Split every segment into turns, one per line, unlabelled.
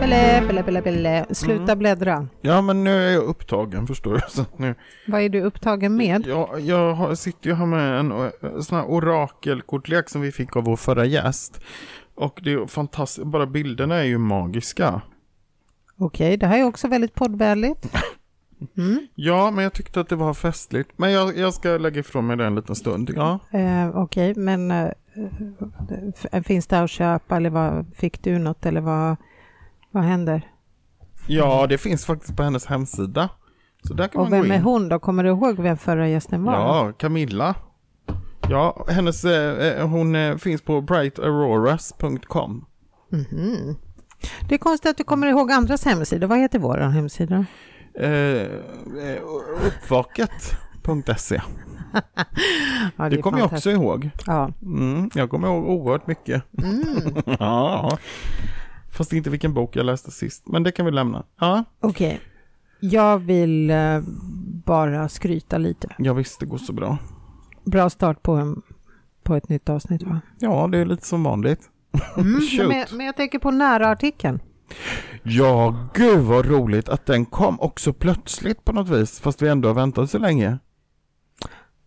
Pelle, Pelle, Pelle, Pelle. Sluta
Mm.
bläddra.
Ja, men nu är jag upptagen förstår du. Så att nu,
Vad är du upptagen med?
jag, jag har, sitter ju här med en, o- en sån här orakelkortlek som vi fick av vår förra gäst. Och det är ju fantastiskt, bara bilderna är ju magiska.
Okej, det här är också väldigt poddvänligt. Mm.
Ja, men jag tyckte att det var festligt. Men jag, jag ska lägga ifrån mig det en liten stund. Ja.
Eh, Okej, men eh, f- finns det att köpa eller vad, fick du något eller vad, vad händer?
ja, det finns faktiskt på hennes hemsida. Så där kan
Och
man gå
vem
in.
är hon då? Kommer du ihåg vem förra gästen var?
Ja, Camilla. Ja, hennes, eh, eh, hon eh, finns på brightauroras.com.
Mhm. Det är konstigt att du kommer ihåg andras hemsidor. Vad heter vår hemsida?
Eh, eh, uppvaket.se.
Ja,
Det
är
kommer jag
fantastiskt.
också ihåg.
Ja.
Mm, jag kommer ihåg oerhört mycket.
Mm.
ja. Fast inte vilken bok jag läste sist, men det kan vi lämna. Ja,
Okej, jag vill eh, bara skryta lite.
jag visste det går så bra.
Bra start på, en, på ett nytt avsnitt va?
Ja, det är lite som vanligt.
Mm,
Shoot.
men, men jag tänker på nära artikeln.
Ja, gud vad roligt att den kom också plötsligt på något vis, fast vi ändå har väntat så länge.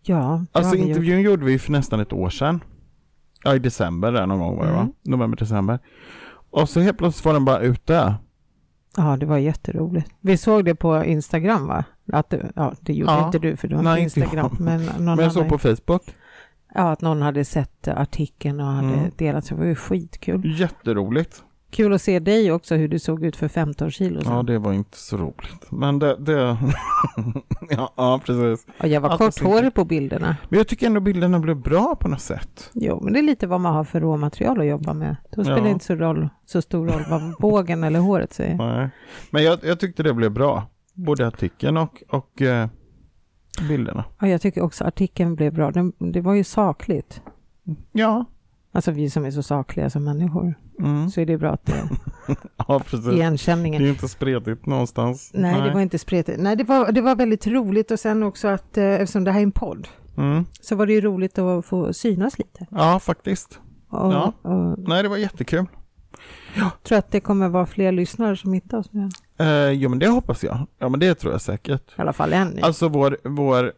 Ja, det
Alltså
har vi gjort.
intervjun gjorde vi ju för nästan ett år sedan. Ja, i december där någon gång var det va?
Mm.
November, december. Och så helt plötsligt var den bara ute.
Ja, det var jätteroligt. Vi såg det på Instagram va? Att, det- ja, det gjorde
Ja.
inte du för du har
Nej,
inte
inte
Instagram.
jag.
men någon
Men jag
annan,
såg på Facebook.
ja, att någon hade sett artikeln och hade
Mm.
delat. Så det var ju skitkul.
Jätteroligt.
Kul att se dig också, hur du såg ut för 15 kilo sedan.
Ja, det var inte så roligt. Men det... det... ja, ja, precis.
Och jag var
Allt var
korthårig på bilderna.
Men jag tycker ändå bilderna blev bra på något sätt.
Jo, men det är lite vad man har för råmaterial att jobba med. Då spelar
Ja.
det inte så, roll, så stor roll vad bågen eller håret säger.
Nej. Men jag, jag tyckte det blev bra. Både artikeln och, och eh, bilderna.
Ja, jag tycker också artikeln blev bra. Den, det var ju sakligt.
Ja.
Alltså vi som är så sakliga som människor.
Mm.
Så är det bra att det
Ja,
är
precis.
igenkänningen.
Det är inte spretigt någonstans.
Nej, det var inte spretigt. Nej, det var, det var väldigt roligt och sen också att eh, eftersom det här är en podd
mm.
så var det ju roligt att få synas lite.
Ja, faktiskt.
Och,
Ja.
och
Nej, det var jättekul.
tror att det kommer vara fler lyssnare som hittar oss nu.
Eh, jo, men det hoppas jag. Ja, men det tror jag säkert.
I alla fall en.
Alltså vår, vår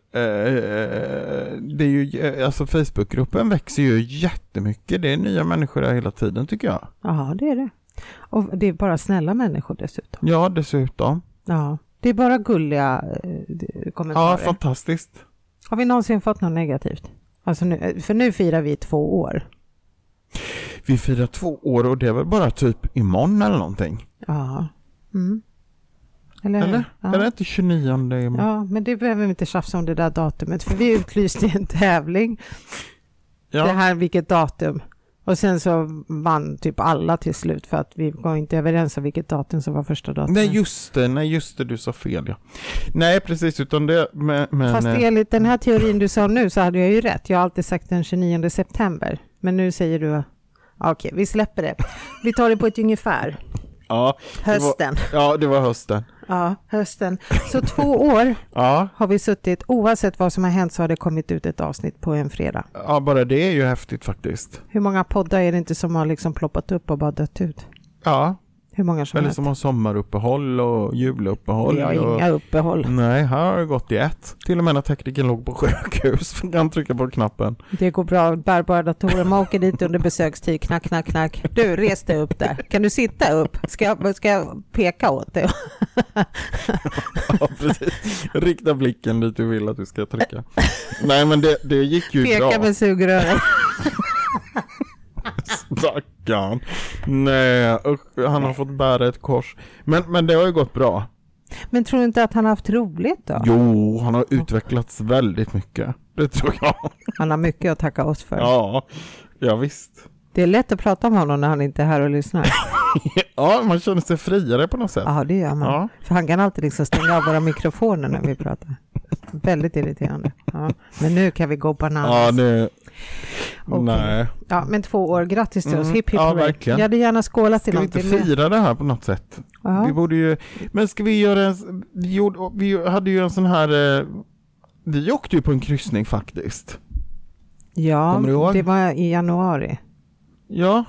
eh, det är ju, eh, alltså Facebookgruppen växer ju jättemycket. Det är nya människor där hela tiden tycker jag.
Ja, det är det. Och det är bara snälla människor dessutom.
Ja, dessutom.
Ja, det är bara gulliga eh, d-
Ja,
kommentarer.
fantastiskt.
Har vi någonsin fått något negativt? Alltså nu, för nu firar vi två år.
Vi firar två år och det är väl bara typ imorgon eller någonting?
Ja. Mm. Eller?
Eller?
Ja.
Är det inte 29 imorgon?
ja, men det behöver vi inte tjafsa om det där datumet, för vi utlyste en tävling. Det
Ja,
här, vilket datum? Och sen så vann typ alla till slut för att vi var inte överens om vilket datum som var första datumet.
Nej just det, nej just det, du sa fel ja. Nej precis, utan det, men, men
Fast
eh,
enligt den här teorin du sa nu så hade jag ju rätt. Jag har alltid sagt den 29 september. Men nu säger du... Ja, Okej, vi släpper det. Vi tar det på ett ungefär.
ja, var-
Hösten.
ja, det var hösten.
Ja, hösten. Så två år
Ja,
har vi suttit. Oavsett vad som har hänt så har det kommit ut ett avsnitt på en fredag.
ja, bara det är ju häftigt faktiskt.
Hur många poddar är det inte som har liksom ploppat upp och bara dött ut?
Ja,
Hur många som
Eller
helst.
som har sommaruppehåll och juluppehåll.
Vi har
och...
inga uppehåll.
Nej, här har det gått i ett. Till och med när tekniken låg på sjukhus fick han trycka på knappen.
Det går bra, bärbara datorer. Man åker dit under besökstid. Knack, knack, knack. Du, res dig upp där. Kan du sitta upp? Ska jag, ska jag peka åt dig?
Ja, precis. Rikta blicken dit du vill att du ska trycka. Nej, men det, det gick ju bra.
Peka med sugröret.
Stackarn. Nej, usch, han har fått bära ett kors. Men, men det har ju gått bra.
Men tror du inte att han har haft roligt då?
Jo, han har utvecklats väldigt mycket. Det tror jag.
Han har mycket att tacka oss för.
Ja, ja visst.
Det är lätt att prata om honom när han inte är här och lyssnar.
Ja, man känner sig friare på något sätt.
Ja, det gör man.
Ja.
För han kan alltid liksom stänga av våra mikrofoner när vi pratar. Väldigt irriterande. Ja. Men nu kan vi gå
Ja,
bananas.
det...
Okej.
Nej.
Ja, men två år. Grattis till oss.
Mm.
Hipp, hipp,
Ja,
hurra.
verkligen.
Jag hade gärna skålat i
Ska vi inte
någonting. men-
fira det här på något sätt? Vi
Ja.
borde ju... Men ska vi göra en... Vi, gjorde, vi hade ju en sån här... eh, Vi åkte ju på en kryssning faktiskt.
ja,
Kommer du ihåg?
det var i januari.
Ja,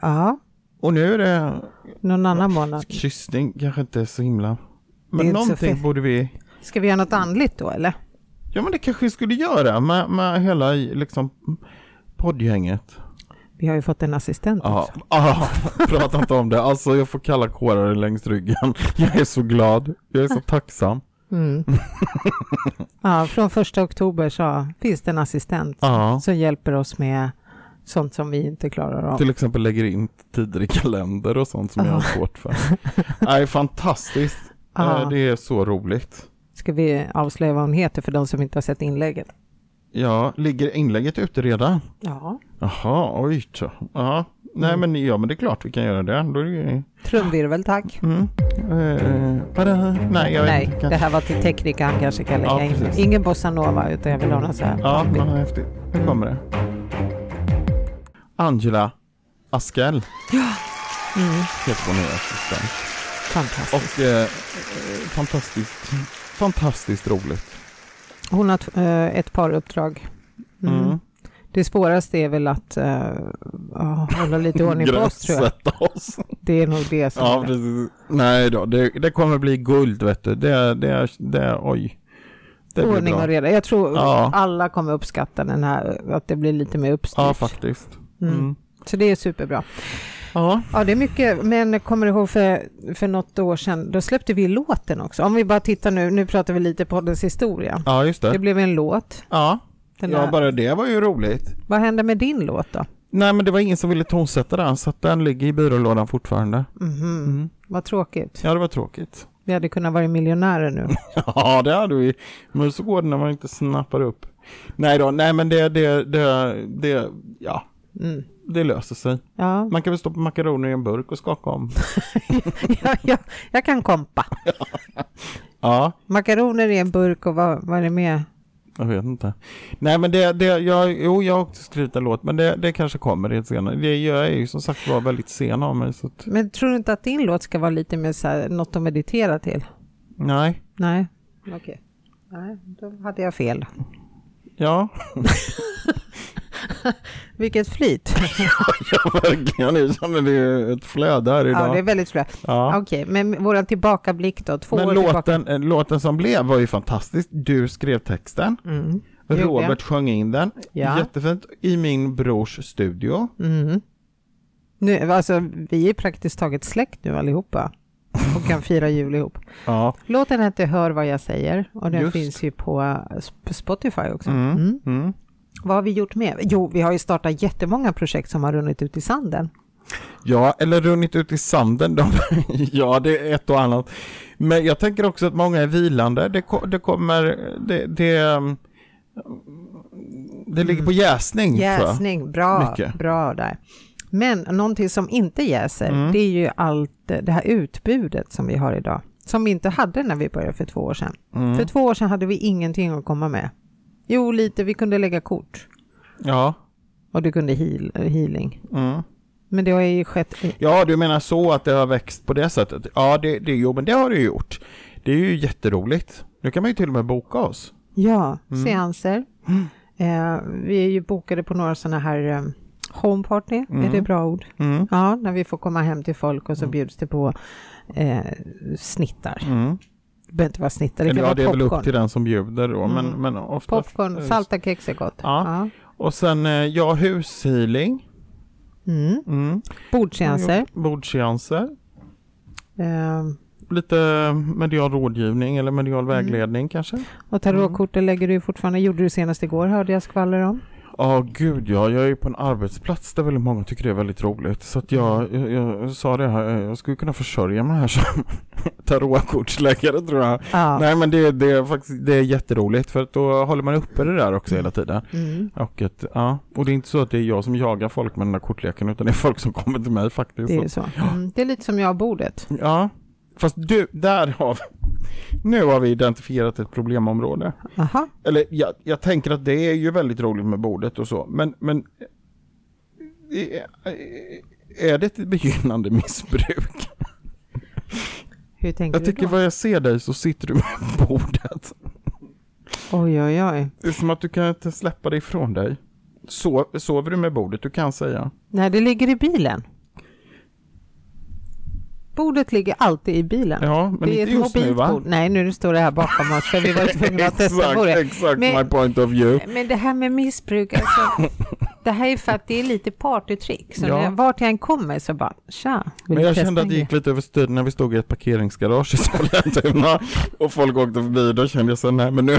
Ja,
Och nu är det
Någon annan månad.
kryssning, kanske inte är så himla.
Det är
Men
inte så
någonting
fe-
borde vi,
Ska vi göra något andligt då eller?
ja men det kanske vi skulle göra med, med hela liksom poddgänget.
Vi har ju fått en assistent
Ja,
också.
ah, prata inte om det. Alltså jag får kalla kårar längs ryggen. Jag är så glad, jag är så tacksam.
Mm. ja, från första oktober så finns det en assistent
Ja.
som hjälper oss med sånt som vi inte klarar av.
Till exempel lägger in tider i kalender och sånt som
Ja.
jag har svårt för. Nej, fantastiskt.
Ja.
Eh, Det är så roligt.
Ska vi avslöja vad hon heter för de som inte har sett inlägget?
Ja, ligger inlägget ute redan?
Ja.
Jaha, oj då. Ja,
Mm.
nej men ja, men det är klart vi kan göra det. Då är det ju...
Trumvirvel tack.
Mm. Eh, vadå? nej, jag vet
Nej,
inte.
det här var till tekniker han kanske kan lägga
Ja,
in.
precis.
Ingen bossanova utan jag vill ha något så här. Mm,
Ja, men vad häftigt. Nu kommer det. Angela Askell
Mm.
heter vår nya assistent.
Fantastiskt.
Och eh, eh, fantastiskt, fantastiskt roligt.
Hon har t- eh, ett par uppdrag. Mm.
Mm.
Det svåraste är väl att eh, ja, hålla lite ordning på oss tror jag.
Grässätta oss.
Det är nog det som
Ja,
är det.
precis. Nej då, det, det kommer bli guld vet du. Det, det, det, oj. Det blir
ordning
bra.
och reda. Jag tror
Ja.
alla kommer uppskatta den här, att det blir lite mer uppstyrt.
Ja, faktiskt.
Mm.
Mm.
Så det är superbra.
Ja.
Ja, det är mycket, men kommer du ihåg för, för något år sedan, då släppte vi låten också. Om vi bara tittar nu, nu pratar vi lite poddens historia.
ja, just
Det
det.
blev en låt.
Ja.
Den
ja,
här,
bara det var ju roligt.
Vad hände med din låt då?
Nej, men det var ingen som ville tonsätta den, så att den ligger i byrålådan fortfarande.
Mhm,
Mm.
Vad tråkigt.
Ja, det var tråkigt.
Vi hade kunnat vara miljonärer nu.
Ja, det hade vi. Men så går det när man inte snappar upp. Nej då, nej men det, det, det, det, ja,
Mm.
det löser sig.
Ja,
Man kan väl stoppa makaroner i en burk och skaka om.
jag, jag, jag kan kompa.
Ja,
Makaroner i en burk och vad, vad är det med?
jag vet inte. Nej men det, det jag, jo jag har också skrivit en låt, men det, det kanske kommer i ett senare. Det, jag är ju som sagt var väldigt sen av mig, så att,
Men tror du inte att din låt ska vara lite mer så här, något att meditera till?
nej.
Nej, okej. Nej, då hade jag fel.
Ja,
Vilket flyt.
jag verkligen, jag känner det är ett flöde här idag.
Ja, det är väldigt bra.
Ja.
Okej, men våran tillbakablick då, två år
Men
tillbaka.
låten, eh, låten som blev var ju fantastisk. Du skrev texten,
Mm. Det gjorde
Robert sjöng in den,
Ja.
jättefint, i min brors studio.
Mm. Nu, alltså, vi är praktiskt taget släkt nu allihopa och kan fira jul ihop.
Ja.
Låten heter Hör vad jag säger och den
Just.
finns ju på eh, Sp- Spotify också.
Mm.
Mm.
Mm.
Vad har vi gjort med? Jo, vi har ju startat jättemånga projekt som har runnit ut i sanden.
Ja, eller runnit ut i sanden. De, ja, det är ett och annat. Men jag tänker också att många är vilande. Det, ko- det kommer, det, det, mm, det ligger på jäsning. Mm, Tror jag.
Mm. Jäsning, bra,
Mycket.
bra där. Men någonting som inte jäser,
Mm.
det är ju allt eh, det här utbudet som vi har idag, som vi inte hade när vi började för två år sedan.
Mm.
För två år sedan hade vi ingenting att komma med. Jo, lite, vi kunde lägga kort
Ja.
och du kunde heal, eh, healing.
Mm.
Men det har ju skett, i-
ja, du menar så att det har växt på det sättet. Ja, det, det, jo, men det har det ju gjort. Det är ju jätteroligt. Nu kan man ju till och med boka oss.
ja,
Mm.
seanser. Eh, vi är ju bokade på några sådana här eh, homeparty, är det bra ord?
Mm.
Ja, när vi får komma hem till folk och så bjuds det på eh, snittar.
Mm.
Det behöver inte vara snittar, det
Eller
kan
ja, det är
vara
väl upp
popcorn. Mm.
till den som bjuder då. Men, men oftast,
Popcorn, salta kex är gott.
Ja. Och sen, eh, ja, hushealing.
Ja. Mm.
Mm.
Bordseanser.
Bordseanser.
Eh,
lite medial rådgivning eller medial
Mm.
vägledning kanske?
och
Mm.
tarotkorten lägger du ju fortfarande, gjorde du senast igår hörde jag skvaller om.
Ja, gud ja. Jag är ju på en arbetsplats där väldigt många tycker det är väldigt roligt. Så att jag,
Mm.
jag, jag sa det här, eh, jag skulle kunna försörja mig här som tarotkortsläggare tror jag.
Ja.
Nej men det, det, är faktiskt, det är jätteroligt för att då håller man uppe det där också hela tiden.
Mm.
Och, ett, ja. och det är inte så att det är jag som jagar folk med den där kortleken utan det är folk som kommer till mig faktiskt.
Det är ju så. Mm. Det är lite som jag och bordet.
Ja, fast du, där har vi, nu har vi identifierat ett problemområde.
Aha.
Eller jag, jag tänker att det är ju väldigt roligt med bordet och så, men, men eh, är det ett begynnande missbruk?
Hur tänker
Jag
du
tycker
då?
vad jag ser dig så sitter du med bordet.
Oj, oj, oj.
Det är som att du kan inte släppa det ifrån dig. Så, sover du med bordet, du kan säga.
Nej, det ligger i bilen. Bordet ligger alltid i bilen.
Ja,
det
men
är
inte
ett
just
mobilt
nu va?
bord. Nej, nu står det här bakom oss för vi var ju tvungna att testa
Exakt,
bordet.
exakt
Men-
my point of view.
Men det här med missbruk, alltså, det här är för att det är lite partytrick. Så
Ja.
när jag, vart jag än kommer så bara, tja, vill
Men
du
jag
testa
kände att det
en
gick lite överstyr när vi stod i ett parkeringsgarage i Sollentuna och folk åkte förbi. Då kände jag så här, nej men nu,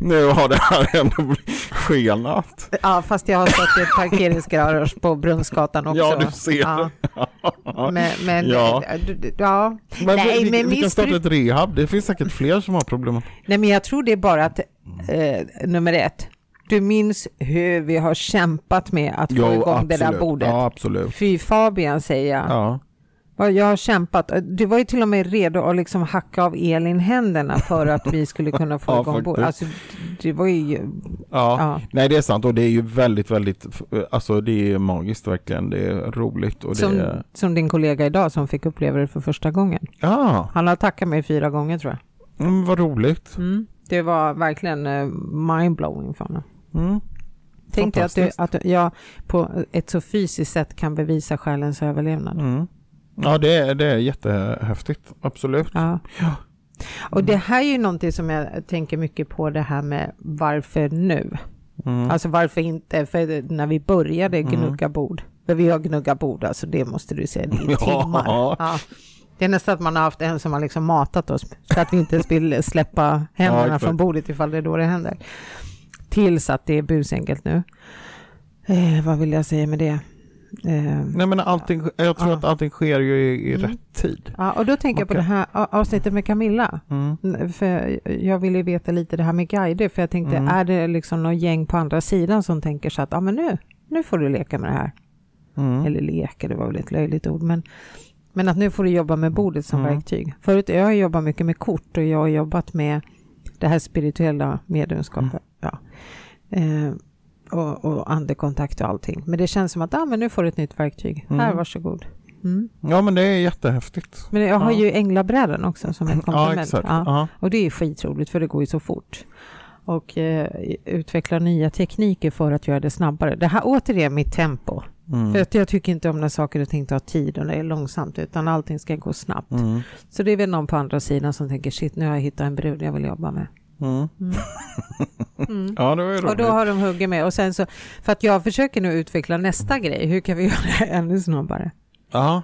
nu har det här ändå skenat.
grej?" Ja, fast jag har stått i ett parkeringsgarage på Brunnsgatan också.
Ja, du ser.
Ja, men, men,
Ja.
ja. ja.
Men
Nej,
vi, vi,
men
vi kan starta
missbruk-
ett rehab. Det finns säkert fler som har problem.
Nej, men jag tror det är bara att, eh, nummer ett, du minns hur vi har kämpat med att få igång det där bordet.
Ja, absolut.
Fy Fabian säger jag.
Ja.
Vad Jag har kämpat. Du var ju till och med redo att liksom hacka av Elin händerna för att vi skulle kunna få
Ja,
igång bordet. Alltså, det var ju...
Ja.
Ja.
nej det är sant och det är ju väldigt, väldigt, alltså det är magiskt verkligen, det är roligt och det
Som,
är...
som din kollega idag som fick uppleva det för första gången.
Ja,
Han har tackat mig fyra gånger tror jag.
mm, vad roligt.
Mm. Det var verkligen eh, mindblowing för honom.
Mm.
Tänkte jag att, du,
Fantastiskt.
att jag på ett så fysiskt sätt kan bevisa själens överlevnad.
Mm. Ja, det är, det är jättehäftigt, absolut.
Ja. Och
Mm.
det här är ju någonting som jag tänker mycket på det här med varför nu?
Mm.
Alltså varför inte? För det- när vi började gnugga bord, för vi har gnugga bord, alltså det måste du säga, det är
Ja.
timmar. Ja. Det är nästan att man har haft en som har liksom matat oss, så att vi inte ens vill släppa händerna
exakt.
från bordet ifall det är då det händer. Tills att det är busenkelt nu. Eh, vad vill jag säga med det? Eh,
Nej men allting, jag tror
Ja. Mm.
att allting sker ju i, i rätt tid.
ja, och då tänker jag på det
Okej.
här a- avsnittet med Camilla.
Mm.
N- För jag ville ju veta lite det här med guider, för jag tänkte,
Mm.
är det liksom någon gäng på andra sidan som tänker så att, ja ah, men nu, nu får du leka med det här.
Mm.
eller leka, det var väl ett löjligt ord, men, men att nu får du jobba med bordet som
Mm.
verktyg. Förut, jag har jobbat mycket med kort och jag har jobbat med det här spirituella mediumskapet.
Mm.
Ja. Eh, och, och andekontakt och allting. Men det känns som att ah, men nu får du ett nytt verktyg.
Mm.
Här, varsågod. Mm.
Ja men det är jättehäftigt.
Men jag har
Ja.
ju änglabrädan också som ett
Ja
komplement.
exakt.
Ja.
Ja.
Och det är skitroligt för det går ju så fort. Och eh, utveckla nya tekniker för att göra det snabbare. Det här återigen mitt tempo. För
Mm.
att jag tycker inte om när saker och ting tar tid och det är långsamt, utan allting ska gå snabbt.
Mm.
Så det är väl någon på andra sidan som tänker, shit, nu har jag hittat en brud jag vill jobba med.
Mm.
Mm.
Ja det var ju
Och då
roligt.
har de huggit med. Och sen så, för att jag försöker nu utveckla nästa grej, hur kan vi göra det ännu snabbare?
Ja,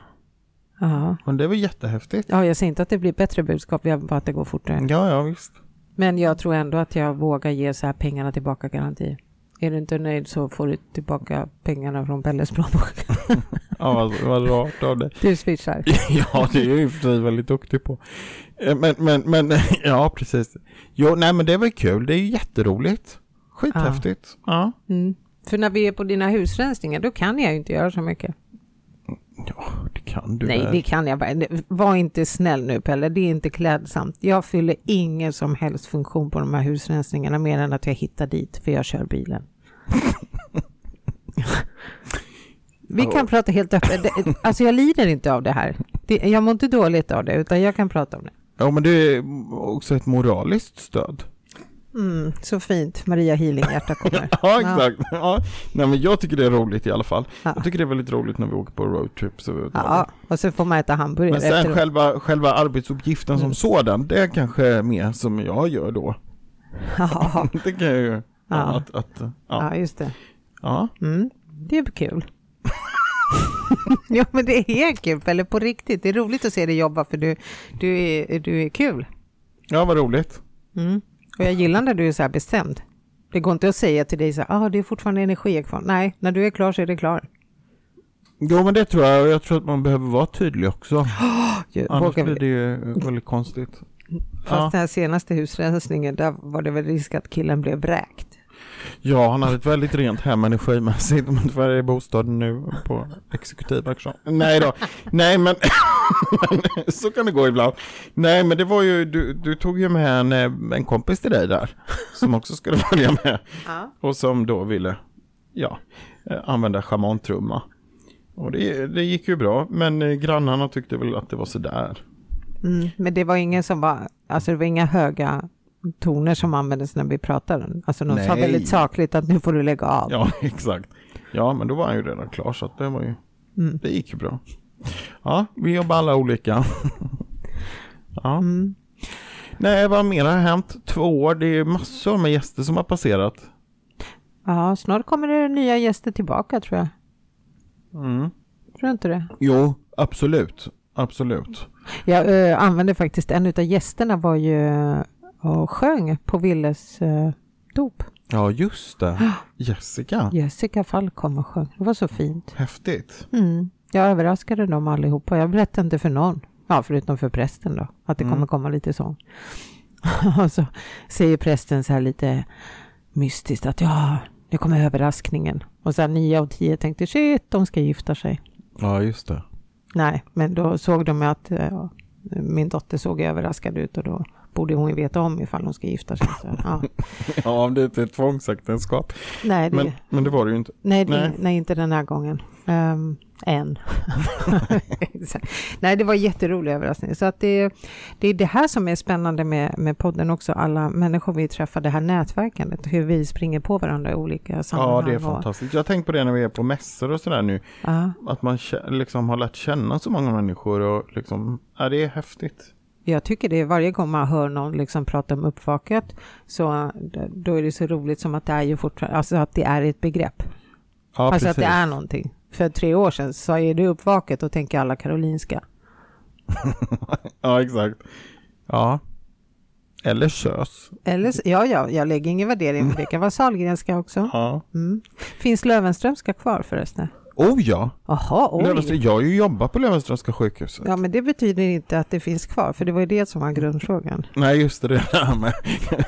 Ja.
men det var jättehäftigt.
ja, jag säger inte att det blir bättre budskap, jag bara att det går fortare.
Ja, ja visst.
Men jag tror ändå att jag vågar ge så här pengarna tillbaka garanti. Är du inte nöjd så får du tillbaka pengarna från Pelles plånbok.
Ja, vad, vad rart av dig.
Du swishar.
Ja, det är jag i och för sig väldigt duktig på. Eh, Men, men, men, ja precis. Jo, nej men det var kul, det är ju jätteroligt. Skithäftigt. Ja.
Mm. För när vi är på dina husrensningar, då kan jag ju inte göra så mycket.
Det kan du
Nej,
väl?
det kan jag bara. Var inte snäll nu Pelle, det är inte klädsamt. Jag fyller ingen som helst funktion på de här husrensningarna mer än att jag hittar dit, för jag kör bilen. Vi kan prata helt öppet. Det- Alltså jag lider inte av det här. Det, jag mår inte dåligt av det, utan jag kan prata om det.
Ja, men det är också ett moraliskt stöd.
Mm, så fint, Maria Healinghjärta kommer.
Ja, exakt. Ja. Nej, men jag tycker det är roligt i alla fall.
Ja.
Jag tycker det är väldigt roligt när vi åker på roadtrips. och-
Ja, och så får man äta hamburgare
Men sen
efteråt.
själva, själva arbetsuppgiften som
Mm.
sådan, det är kanske mer som jag gör då.
Ja,
Det kan jag ju. Ja.
Ja.
Att, att, ja.
ja, just det.
Ja.
Mm, det är kul. ja men det är kul, eller på riktigt. Det är roligt att se dig jobba för du, du, är, du är kul.
ja, vad roligt.
Mm. Och jag gillar när du är så här bestämd. Det går inte att säga till dig så här, ah, det är fortfarande energi kvar. Nej, när du är klar så är det klar.
Jo men det tror jag, och jag tror att man behöver vara tydlig också.
Jag
Annars
vågar-
blir det ju väldigt konstigt.
Fast
Ja.
den här senaste husrensningen, där var det väl risk att killen blev vräkt.
ja, han hade ett väldigt rent hem energimässigt, men tyvärr är bostaden nu på exekutiv auktion. Nej då, nej men, men så kan det gå ibland. Nej men det var ju, du, du tog ju med en, eh, en kompis till dig där, som också skulle följa med.
Ja.
Och som då ville, ja, eh, använda schamantrumma. Och det, det gick ju bra, men eh, grannarna tyckte väl att det var sådär.
Mm. Men det var ingen som var, alltså det var inga höga toner som användes när vi pratade. Alltså de sa
Nej.
väldigt sakligt att nu får du lägga av.
Ja, exakt. Ja, men då var han ju redan klar så att det var ju,
Mm.
det gick ju bra. Ja, vi jobbar alla olika. ja.
Mm.
Nej, vad mer har hänt? Två år, det är massor med gäster som har passerat.
Ja, snart kommer det nya gäster tillbaka tror jag.
Mm.
Tror du inte det?
Jo, absolut. Absolut.
Jag eh, använde faktiskt, en utav gästerna var ju och sjöng på Willes eh, dop.
Ja, just det. Jessica.
Jessica Fall kom och sjöng. Det var så fint.
Häftigt.
Mm. Jag överraskade dem allihopa. Jag berättade inte för någon. Ja, förutom för prästen då. Att det
Mm.
kommer komma lite sång. och så säger prästen så här lite mystiskt att ja, nu kommer överraskningen. Och sen nio av tio tänkte shit, de ska gifta sig.
Ja, just det.
Nej, men då såg de att eh, min dotter såg överraskad ut och då borde hon ju veta om ifall hon ska gifta sig. Så, ja.
Ja, om det inte är ett tvångsäktenskap.
nej, det,
Men, men det var det ju inte.
nej, det,
nej.
nej. inte den här gången. Um, än. Exakt. nej, det var en jätterolig överraskning. Så att det, det är det här som är spännande med, med podden också, alla människor vi träffar, det här nätverkandet, hur vi springer på varandra i olika sammanhang.
Ja, det är
och-
fantastiskt. Jag har tänkt på det när vi är på mässor och sådär nu.
Ja,
Att man kä- liksom har lärt känna så många människor och liksom, ja det är häftigt.
Jag tycker det är varje gång man hör någon liksom prata om uppvaket så d- då är det så roligt som att det är ju fortfarande, alltså att det är ett begrepp.
Ja,
alltså att
precis.
det är någonting. För tre år sedan sa jag det uppvaket och tänker alla Karolinska.
Ja, exakt. Ja. Eller SÖS.
Eller, s- ja, ja, jag lägger ingen värdering på det. Det kan vara Sahlgrenska också.
Ja.
Mm. Finns Löwenströmska kvar förresten?
Oh ja!
Jaha,
Löwenströ-
oj.
jag har ju jobbat på Löwenströmska sjukhuset.
Ja, men det betyder inte att det finns kvar, för det var ju det som var
Mm.
grundfrågan.
Nej, just det, det där med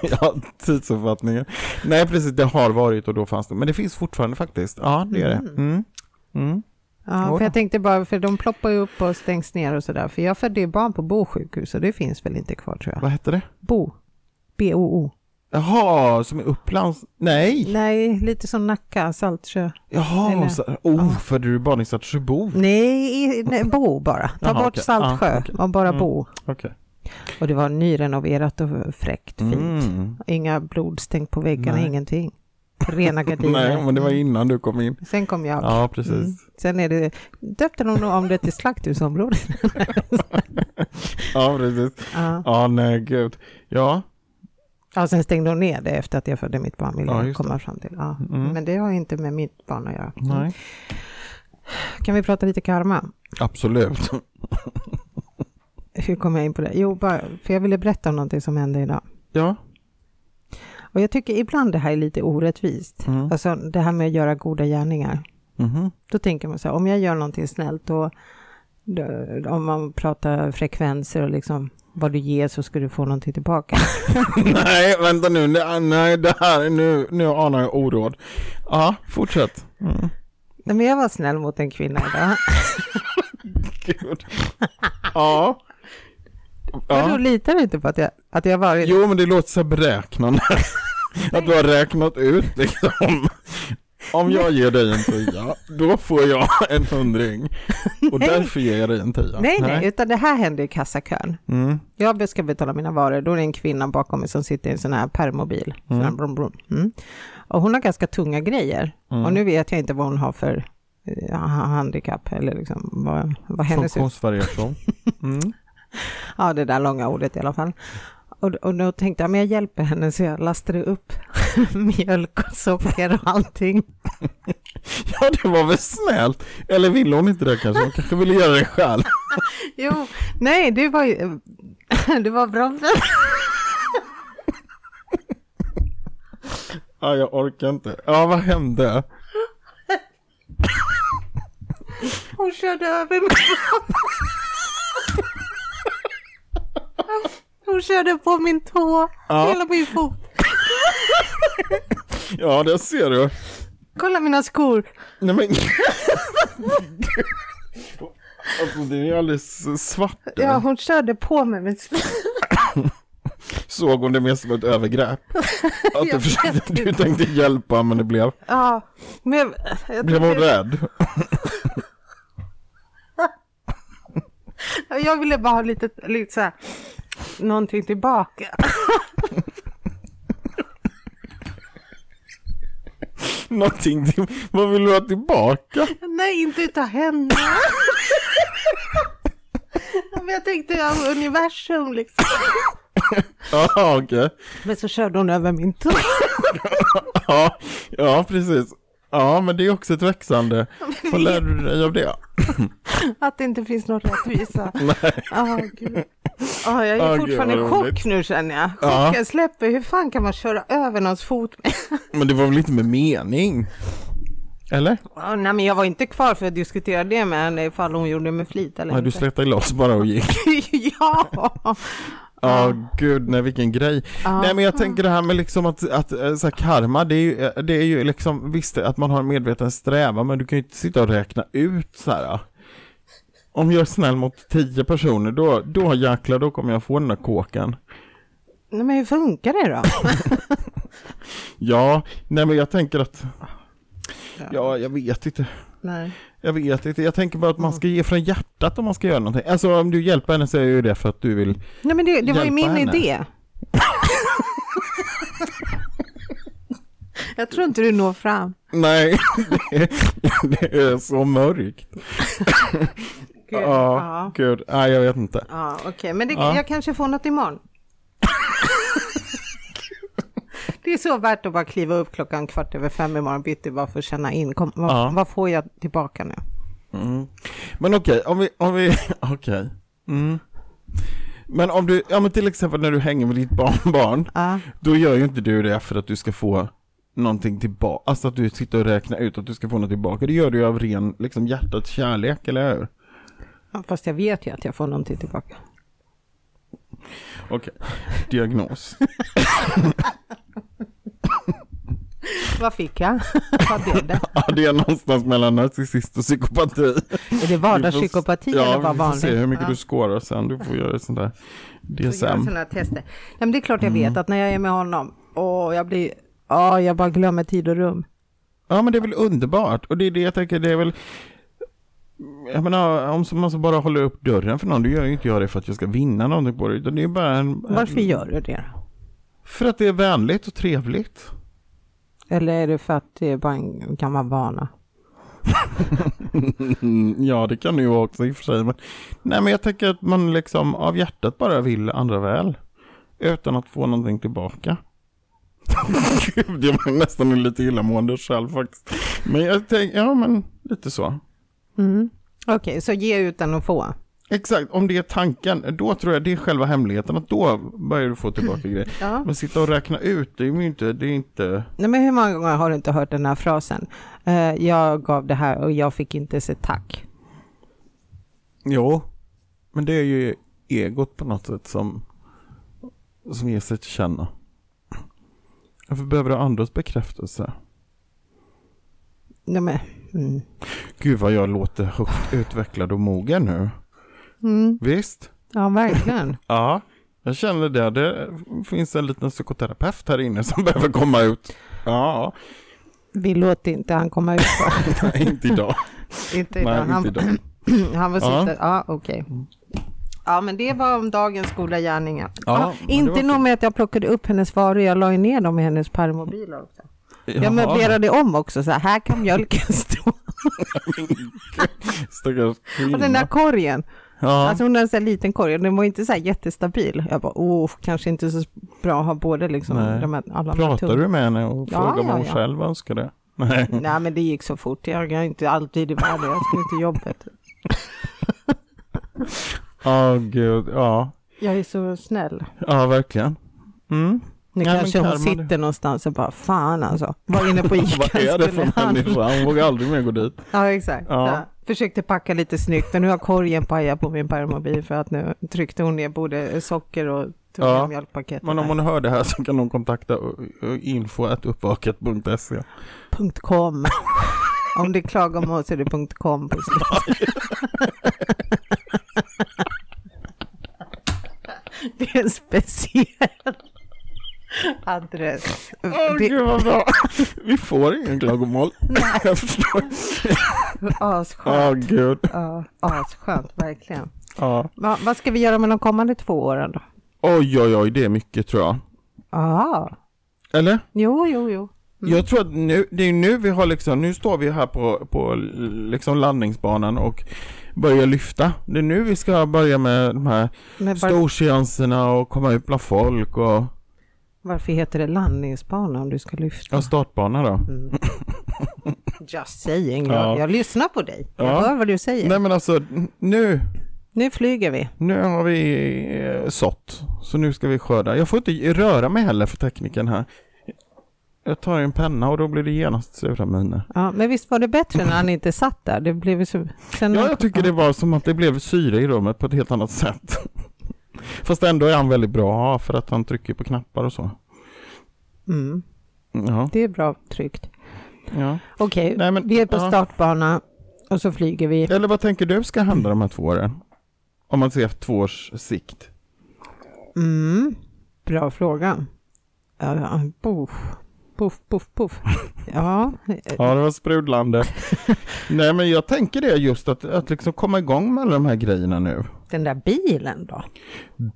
ja, tidsuppfattningen. Nej, precis, det har varit och då fanns det. Men det finns fortfarande faktiskt. Ja, det gör det. Mm. Mm.
Ja,
Oj.
för jag tänkte bara, för de ploppar ju upp och stängs ner och sådär. För jag födde ju barn på Bo sjukhus och det finns väl inte kvar tror jag.
Vad hette det?
Bo. B-O-O.
Jaha, som i Upplands... Nej!
Nej, lite som Nacka, Saltsjö.
Jaha,
Eller-
så... oh, födde du barn i Saltsjöbo?
Nej, nej Bo bara. Ta
Jaha,
bort
okej.
Saltsjö
Ah, okej.
och bara
Mm.
Bo.
Okej.
Och det var nyrenoverat och fräckt, fint.
Mm.
Inga blodstänk på väggarna,
Nej.
ingenting. Rena gardiner.
Nej, men det var innan du kom in.
Sen kom jag.
Ja, precis.
Mm. Sen är det, döpte de nog om det till slakthusområde.
Ja, precis.
Ja.
Ja, nej, gud. Ja,
ja, sen stängde de ner det efter att jag födde mitt barn, vill
Ja,
jag
just
komma fram till. Ja.
Mm.
Men det har ju inte med mitt barn att göra.
nej.
Kan vi prata lite karma?
Absolut.
Hur kom jag in på det? Jo, bara, för jag ville berätta om någonting som hände idag.
Ja.
Och jag tycker ibland det här är lite orättvist.
Mm.
Alltså det här med att göra goda gärningar.
Mhm.
Då tänker man så här, om jag gör någonting snällt då, då om man pratar frekvenser och liksom vad du ger så ska du få någonting tillbaka.
Nej, vänta nu. Det- Nej, det här, nu, nu anar jag oråd. Ja, fortsätt. Mm.
Nej, men jag var snäll mot en kvinna idag.
Gud. Ja.
Men då
ja.
litar du inte på att jag, att jag varit...
Jo, men det låter så här beräknande. Att du har räknat ut liksom. Om jag ger dig en tia, då får jag en hundring. Och därför ger jag dig en tia.
nej, nej, utan det här hände i kassakön.
Mm.
Jag ska betala mina varor, då är det en kvinna bakom mig som sitter i en sån här permobil. Sån här brum, brum. Mm. Och hon har ganska tunga grejer.
Mm.
Och nu vet jag inte vad hon har för eh, handikapp eller liksom vad, vad hennes...
Funktionsvariation. Mm.
Ja, det där långa ordet i alla fall. Och, och då tänkte jag, men jag hjälper henne så jag lastade upp mjölk och socker och allting.
Ja, det var väl snällt. Eller ville hon inte det kanske? Hon kanske ville göra det själv.
Jo, nej, det var ju... Det var bromsen.
Ja, jag orkar inte. Ja, vad hände?
Hon körde över mig. Hon körde på min tå,
Ja.
hela min fot.
Ja, det ser du.
Kolla mina skor.
Nej men... alltså det är ju alldeles svart.
Ja, hon körde på mig med
Såg hon det mer som ett övergrepp? Att du,
Jag
försökte, du tänkte hjälpa men det blev,
Ja, men jag, jag,
blev hon rädd?
jag ville bara ha lite, lite så här, någonting tillbaka.
Någonting till, vad vill du ha tillbaka?
Nej, inte utav henne. jag tänkte ja, universum liksom.
Ja, okej.
Men så körde hon över min tå.
Ja, ja, precis. Ja, men det är också ett växande. Vad lärde du dig av det?
Att det inte finns någon rättvisa.
Nej.
Ah, gud. Ah, jag är
Ah, gud,
fortfarande i
vad
chock
roligt.
nu känner jag.
Ja.
Chocken släpper. Hur fan kan man köra över någons fot?
Men det var väl inte med mening? Eller?
Ah, nej, men jag var inte kvar för att diskutera det med henne ifall hon gjorde det med flit eller
Nej, du
inte.
slätade loss bara och gick.
ja!
Ja, gud, nej vilken grej.
Ja.
Nej, men jag tänker det här med liksom att, att eh, så här, karma, det är, ju, eh, det är ju liksom, visst att man har en medveten strävan, men du kan ju inte sitta och räkna ut så här. ah. Om jag är snäll mot tio personer, då, då jäklar, då kommer jag få den där kåken.
Nej, men hur funkar det då?
Ja, nej men jag tänker att, ja, jag vet inte.
Nej.
Jag vet inte, jag tänker bara att man ska ge från hjärtat om man ska göra någonting. Alltså om du hjälper henne så är ju det för att du vill
Nej men det, det var ju
Hjälpa
min
henne.
idé. jag tror inte du når fram.
Nej, det är, det är så mörkt.
Gud.
Ja,
Ja,
gud. Nej, jag vet inte.
ja okej, men det,
Ja.
jag kanske får något imorgon. det är så värt att bara kliva upp klockan kvart över fem imorgon bitti bara för att känna in, kom, vad,
Ja.
vad får jag tillbaka nu?
Mm. Men okej, om vi, om vi, okej. Mm. Men om du, ja men till exempel när du hänger med ditt barnbarn,
Ja.
då gör ju inte du det för att du ska få någonting tillbaka, alltså att du sitter och räknar ut att du ska få något tillbaka. Det gör du ju av ren, liksom hjärtats kärlek, eller hur?
Ja, Fast jag vet ju att jag får någonting tillbaka.
Okej, diagnos.
Vad fick jag? Vad blev det?
Ja, det är någonstans mellan narcissist och psykopati.
Är det vardagspsykopati
Vi får s-
eller vad
Ja, vi får
vanligt?
se hur mycket
Ja.
du skårar sen. Du får göra ett sånt där
och göra
DSM.
sådana här tester. Nej, men det är klart jag
Mm.
vet att när jag är med honom, åh, jag blir, åh, jag bara glömmer tid och rum.
Ja, men det är väl underbart. Och det är det jag tänker, det är väl... Jag menar, om så- man så bara håller upp dörren för någon, då gör ju inte jag det för att jag ska vinna någonting på det, utan det är bara en...
Varför
en,
gör du det?
För att det är vänligt och trevligt.
Eller är det för att det är bara en gammal vana?
Mm, ja, det kan det ju vara också i och för sig, men... Nej, men jag tänker att man liksom av hjärtat bara vill andra väl. Utan att få någonting tillbaka. Gud, jag var nästan lite illamående själv faktiskt. Men jag tänker, ja men lite så.
Mm. Okej, så ge utan att få.
Exakt, om det är tanken, då tror jag det är själva hemligheten, att då börjar du få tillbaka grejer.
Ja.
Men sitta och räkna ut, det är ju inte, det är inte...
Nej, men hur många gånger har du inte hört den här frasen? Eh, jag gav det här och jag fick inte se tack.
Jo, men det är ju egot på något sätt som, som ger sig till känna. Varför behöver du andras bekräftelse?
Nej, men, mm.
Gud vad jag låter högt utvecklad och mogen nu.
Mm.
Visst?
Ja, verkligen.
Ja. Jag känner det, det finns en liten psykoterapeut här inne som behöver komma ut. Ja,
Vi låter inte han komma ut.
nej inte idag.
inte idag.
Nej,
han,
inte idag.
Han var
Ja.
ja. ja okej. Ja men det var om dagens goda gärningar. Ja,
Ja, men det var
inte
fint.
nog med att jag plockade upp hennes varor, jag la ju ner dem i hennes permobiler också.
Jaha.
Jag möblerade om också, så här, här kan mjölken stå.
Stackars
Och den där
kvinna.
korgen,
Ja.
alltså hon hade en sån här liten korg och den var inte så här jättestabil. Jag bara, åh, kanske inte så bra att ha både liksom.
Nej.
De här, alla
Pratar du med henne och
Ja, ja,
frågar vad hon
ja.
själv önskar det? Nej.
Nej men det gick så fort, jag är inte alltid i världen, jag skulle till jobbet.
Ja, gud. Ja,
Jag är så snäll.
ja verkligen. Mm.
Nu
Ja, men
kanske hon
karma, du.
sitter någonstans och bara, fan alltså, var inne på Ica.
Vad är det
skulle
för
handla."
människa? Hon vågar aldrig mer gå dit.
Ja, exakt.
Ja.
Ja. Försökte packa lite snyggt och nu har korgen pajat på min permobil för att nu tryckte hon ner både socker och tog
Ja.
ner mjölkpaketet.
Men om hon hör det här så kan hon kontakta info.uppvaket.se.
Punkt .com. om det är klagomål så är det punkt .com på slutet. det är en speciell adress.
Åh
det
gud vad bra. Vi får ingen klagomål. Jag förstår.
är asskönt.
Ja, gud.
Ja, asskönt, verkligen.
Ja.
Va, vad ska vi göra med de kommande två åren då?
Oj, oj, oj, det är mycket tror jag.
Ja,
Eller?
jo, jo, jo.
Jag tror att nu, det är nu vi har liksom, nu står vi här på, på liksom landningsbanan och börja lyfta. Det är nu vi ska börja med de här
Men var,
storseanserna och komma ut bland folk och
varför heter det landningsbana om du ska lyfta?
ja, startbana då.
Mm. Just saying, jag,
Ja.
jag lyssnar på dig. Jag
Ja.
hör vad du säger.
Nej men alltså n- nu,
Nu flyger vi.
nu har vi eh, sått. Så nu ska vi skörda. Jag får inte röra mig heller för tekniken här. Jag tar en penna och då blir det genast sura miner.
Ja, men visst var det bättre när han inte satt där? Det blev ju så... Sen
Ja, jag tycker det var som att det blev syre i rummet på ett helt annat sätt. Fast ändå är han väldigt bra för att han trycker på knappar och så.
Mm,
Ja,
det är bra tryckt.
ja.
Okej,
Nej, men-
vi är på
ja.
startbana och så flyger vi.
Eller vad tänker du ska hända de här två åren? Om man ser två års sikt.
Mm, bra fråga. Ja, ja, Puff, puff, puff, puff. Ja, eh,
Ja, det var sprudlande. Nej, men jag tänker det just att, att liksom komma igång med alla de här grejerna nu.
den där bilen då?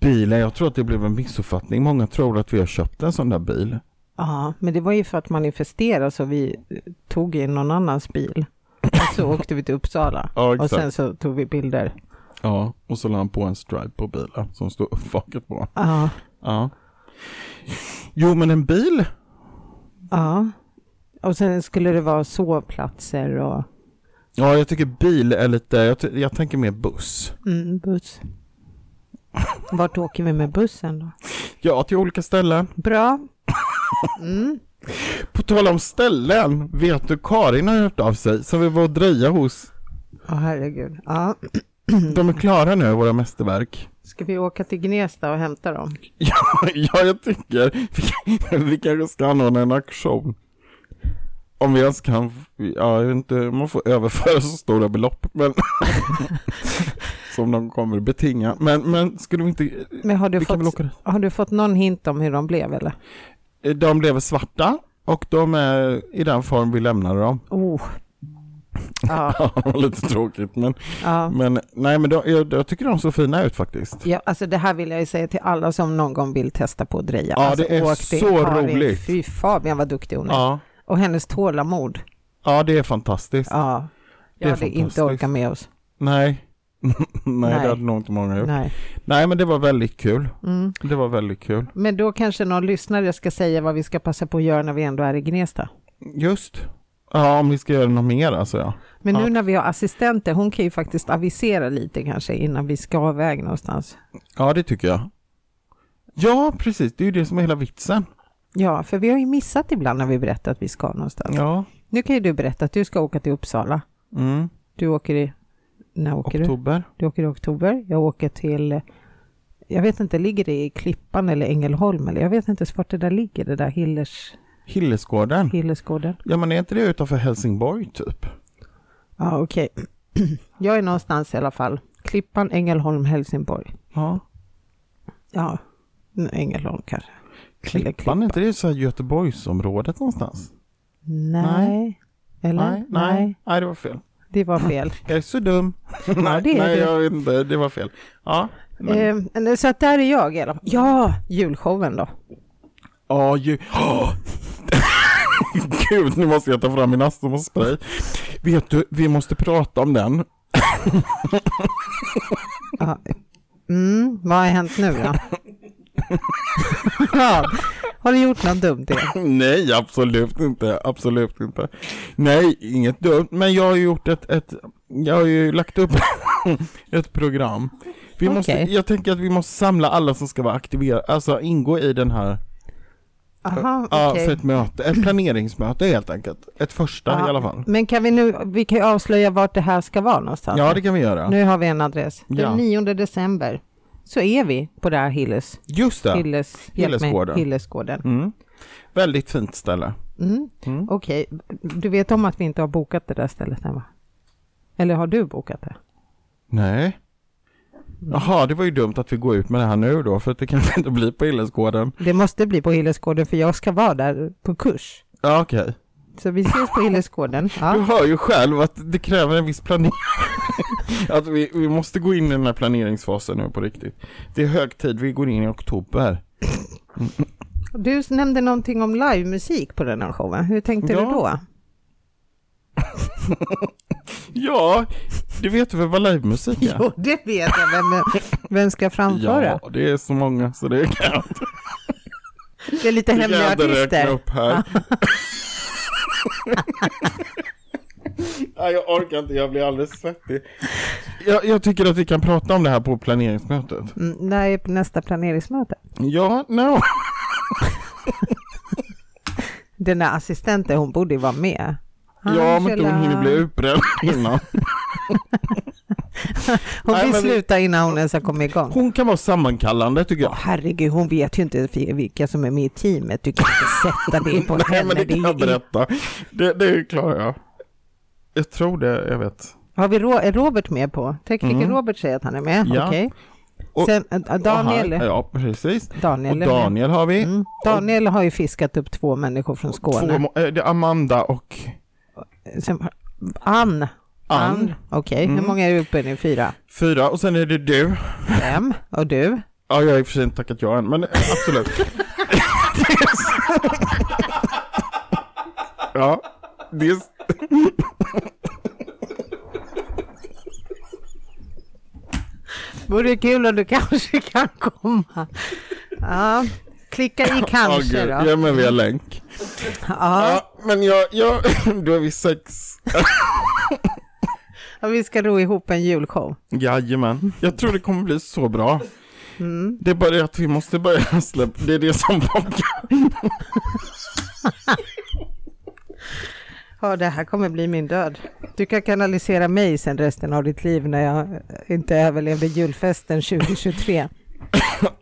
Bilen, jag tror att det blev en missuppfattning. Många tror att vi har köpt en sån där bil.
Ja, men det var ju för att manifestera så vi eh, tog in någon annans bil. Och så åkte vi till Uppsala.
Ja,
Och sen så tog vi bilder.
Ja, och så la han på en stripe på bilen som stod uppvaket på.
Ja,
Ja. Jo, men en bil?
ja. Och sen skulle det vara sovplatser och
Ja, jag tycker bil är lite, jag, ty- jag tänker mer buss.
mm, buss. Vart åker vi med bussen då?
Ja, till olika ställen.
Bra. Mm.
På tal om ställen, vet du Karin har hört av sig som vi var och dreja hos.
Ja, herregud. Ja. Mm.
De är klara nu, våra mästerverk.
Ska vi åka till Gnesta och hämta dem?
ja, jag tycker vi, vi kanske ska anordna en auktion. Om vi ens kan, ja, jag vet inte, man får överföra så stora belopp, men som de kommer betinga. Men, men skulle vi inte,
Men har du,
vi kan väl
fått,
åka dit?
har du fått någon hint om hur de blev eller?
De blev svarta och de är i den form vi lämnade dem.
Oh. Ja,
Ja, lite tråkigt men,
ja.
men nej men de, jag, jag tycker de såg fina ut faktiskt.
ja, alltså det här vill jag ju säga till alla som någon gång vill testa på att dreja.
Ja,
alltså,
det är
åk till
så
Karin.
roligt.
Fy Fabian vad duktig hon är.
Ja,
Och hennes tålamod.
ja det är fantastiskt.
Ja. Jag
är
hade inte
fantastiskt.
orkat med oss.
Nej. nej,
Nej.
det hade nog inte många gjort. Nej.
Nej.
men det var väldigt kul.
Mm.
Det var väldigt kul.
Men då kanske någon lyssnare ska säga vad vi ska passa på att göra när vi ändå är i Gnesta.
Just. Ja, om vi ska göra något mer alltså ja.
Men nu
Ja.
när vi har assistenter, hon kan ju faktiskt avisera lite kanske innan vi ska iväg någonstans.
Ja, det tycker jag. Ja, precis. Det är ju det som är hela vitsen.
Ja, för vi har ju missat ibland när vi berättar att vi ska någonstans.
Ja.
Nu kan ju du berätta att du ska åka till Uppsala.
Mm.
Du åker i... När åker du?
Oktober.
Du åker i oktober. Jag åker till... Jag vet inte, ligger det i Klippan eller Ängelholm? Eller jag vet inte ens vart det där ligger, det där Hillers,
Hillesgården.
Hillersgården.
Ja, men är inte det utanför Helsingborg typ?
Ja, okej. Jag är någonstans i alla fall. Klippan, Ängelholm, Helsingborg.
Ja.
Ja, n- Ängelholm kanske. Eller
Klippan, är inte det så här Göteborgsområdet någonstans?
Nej.
Nej.
Eller?
Nej, nej, nej, det var fel.
Det var fel.
Jag är så dum. nej,
det är
nej
du.
jag vet inte, det var fel. Ja, men,
Eh, så att där är jag i alla fall. Ja, julshowen då.
ja, ju... Åh! Gud, nu måste jag ta fram min astmaspray. Vet du, vi måste prata om den.
Ja. Mm, vad har hänt nu då? Vad? har du gjort något dumt? Erik?
Nej, absolut inte, absolut inte. Nej, inget dumt, men jag har ju gjort ett, ett jag har ju lagt upp ett program. Vi måste,
Okej.
Jag tänker att vi måste samla alla som ska vara aktiverade, alltså ingå i den här
Aha,
Ja,
okej.
för ett möte, ett planeringsmöte helt enkelt. Ett första
Ja.
i alla fall.
Men kan vi nu, vi kan ju avslöja vart det här ska vara någonstans.
Ja, det kan vi göra.
Nu har vi en adress.
Ja.
Den 9 december så är vi på det här Hilles,
Just det.
Hilles, hjälp mig,
Hillesgården.
Hillesgården.
Mm. Väldigt fint ställe.
Mm.
Mm.
Okej, du vet om att vi inte har bokat det där stället än va? Eller har du bokat det?
Nej. Jaha, det var ju dumt att vi går ut med det här nu då, för att det kanske inte blir på Illesgården.
Det måste bli på Hillesgården för jag ska vara där på kurs.
Ja, okej.
Så vi ses på Hillesgården.
Du
Ja.
hör ju själv att det kräver en viss planering. att vi, vi måste gå in i den här planeringsfasen nu på riktigt. Det är hög tid, vi går in i oktober.
Du nämnde någonting om livemusik på den här showen. Hur tänkte
Ja.
du då?
Ja, Du vet ju väl vad livemusik är?
Jo, det vet jag. Vem, vem ska framföra?
Ja, det är så många så det kan jag inte-
Det är lite
jag kan
hemliga
inte räkna
artister.
upp här. Nej, jag orkar inte, jag blir alldeles svettig. Jag, jag tycker att vi kan prata om det här på planeringsmötet.
Mm, När är nästa planeringsmöte?
Ja,
Ah,
no.
Den där assistenten, hon borde ju vara med.
Ja, men hon hinner bli utbränd innan.
Hon
Nej,
vill
men vi-
sluta innan hon ens har kommit igång.
Hon kan vara sammankallande tycker jag.
Herregud, hon vet ju inte fi- vilka som är med i teamet. Du kan inte sätta det på
Nej,
henne.
men det
Det
kan jag
är-
berätta. Det, det klarar jag. Jag tror det, jag vet.
Har vi Ro- är Robert med på? Tekniker
Mm.
Robert säger att han är med.
Ja.
Okej.
Och-
Sen, äh, Daniel,
Och han- ja, precis.
Daniel, är
och
med.
Daniel har vi.
Mm. Daniel har ju fiskat upp två människor från
Två,
Skåne.
må- eh, det är Amanda och
Sen, Ann.
Ann.
Okej,
Mm.
hur många är uppe nu? Fyra?
Fyra. Och sen är det du.
Fem? Och du?
Ja, jag har i och för sig inte tackat ja än, men eh, absolut. Det är så- ja, det är... s-
Vore kul om du kanske kan komma. Ja, klicka i
Ja,
kanske
gud.
då.
Ja, men vi har länk.
Ja,
Ja, men jag, jag, då är vi sex.
och vi ska ro ihop en julshow.
Jajamän, jag tror det kommer bli så bra.
Mm.
Det är bara det att vi måste börja släppa, det är det som lockar.
Ja, det här kommer bli min död. Du kan kanalisera mig sen resten av ditt liv när jag inte överlevde julfesten 2023.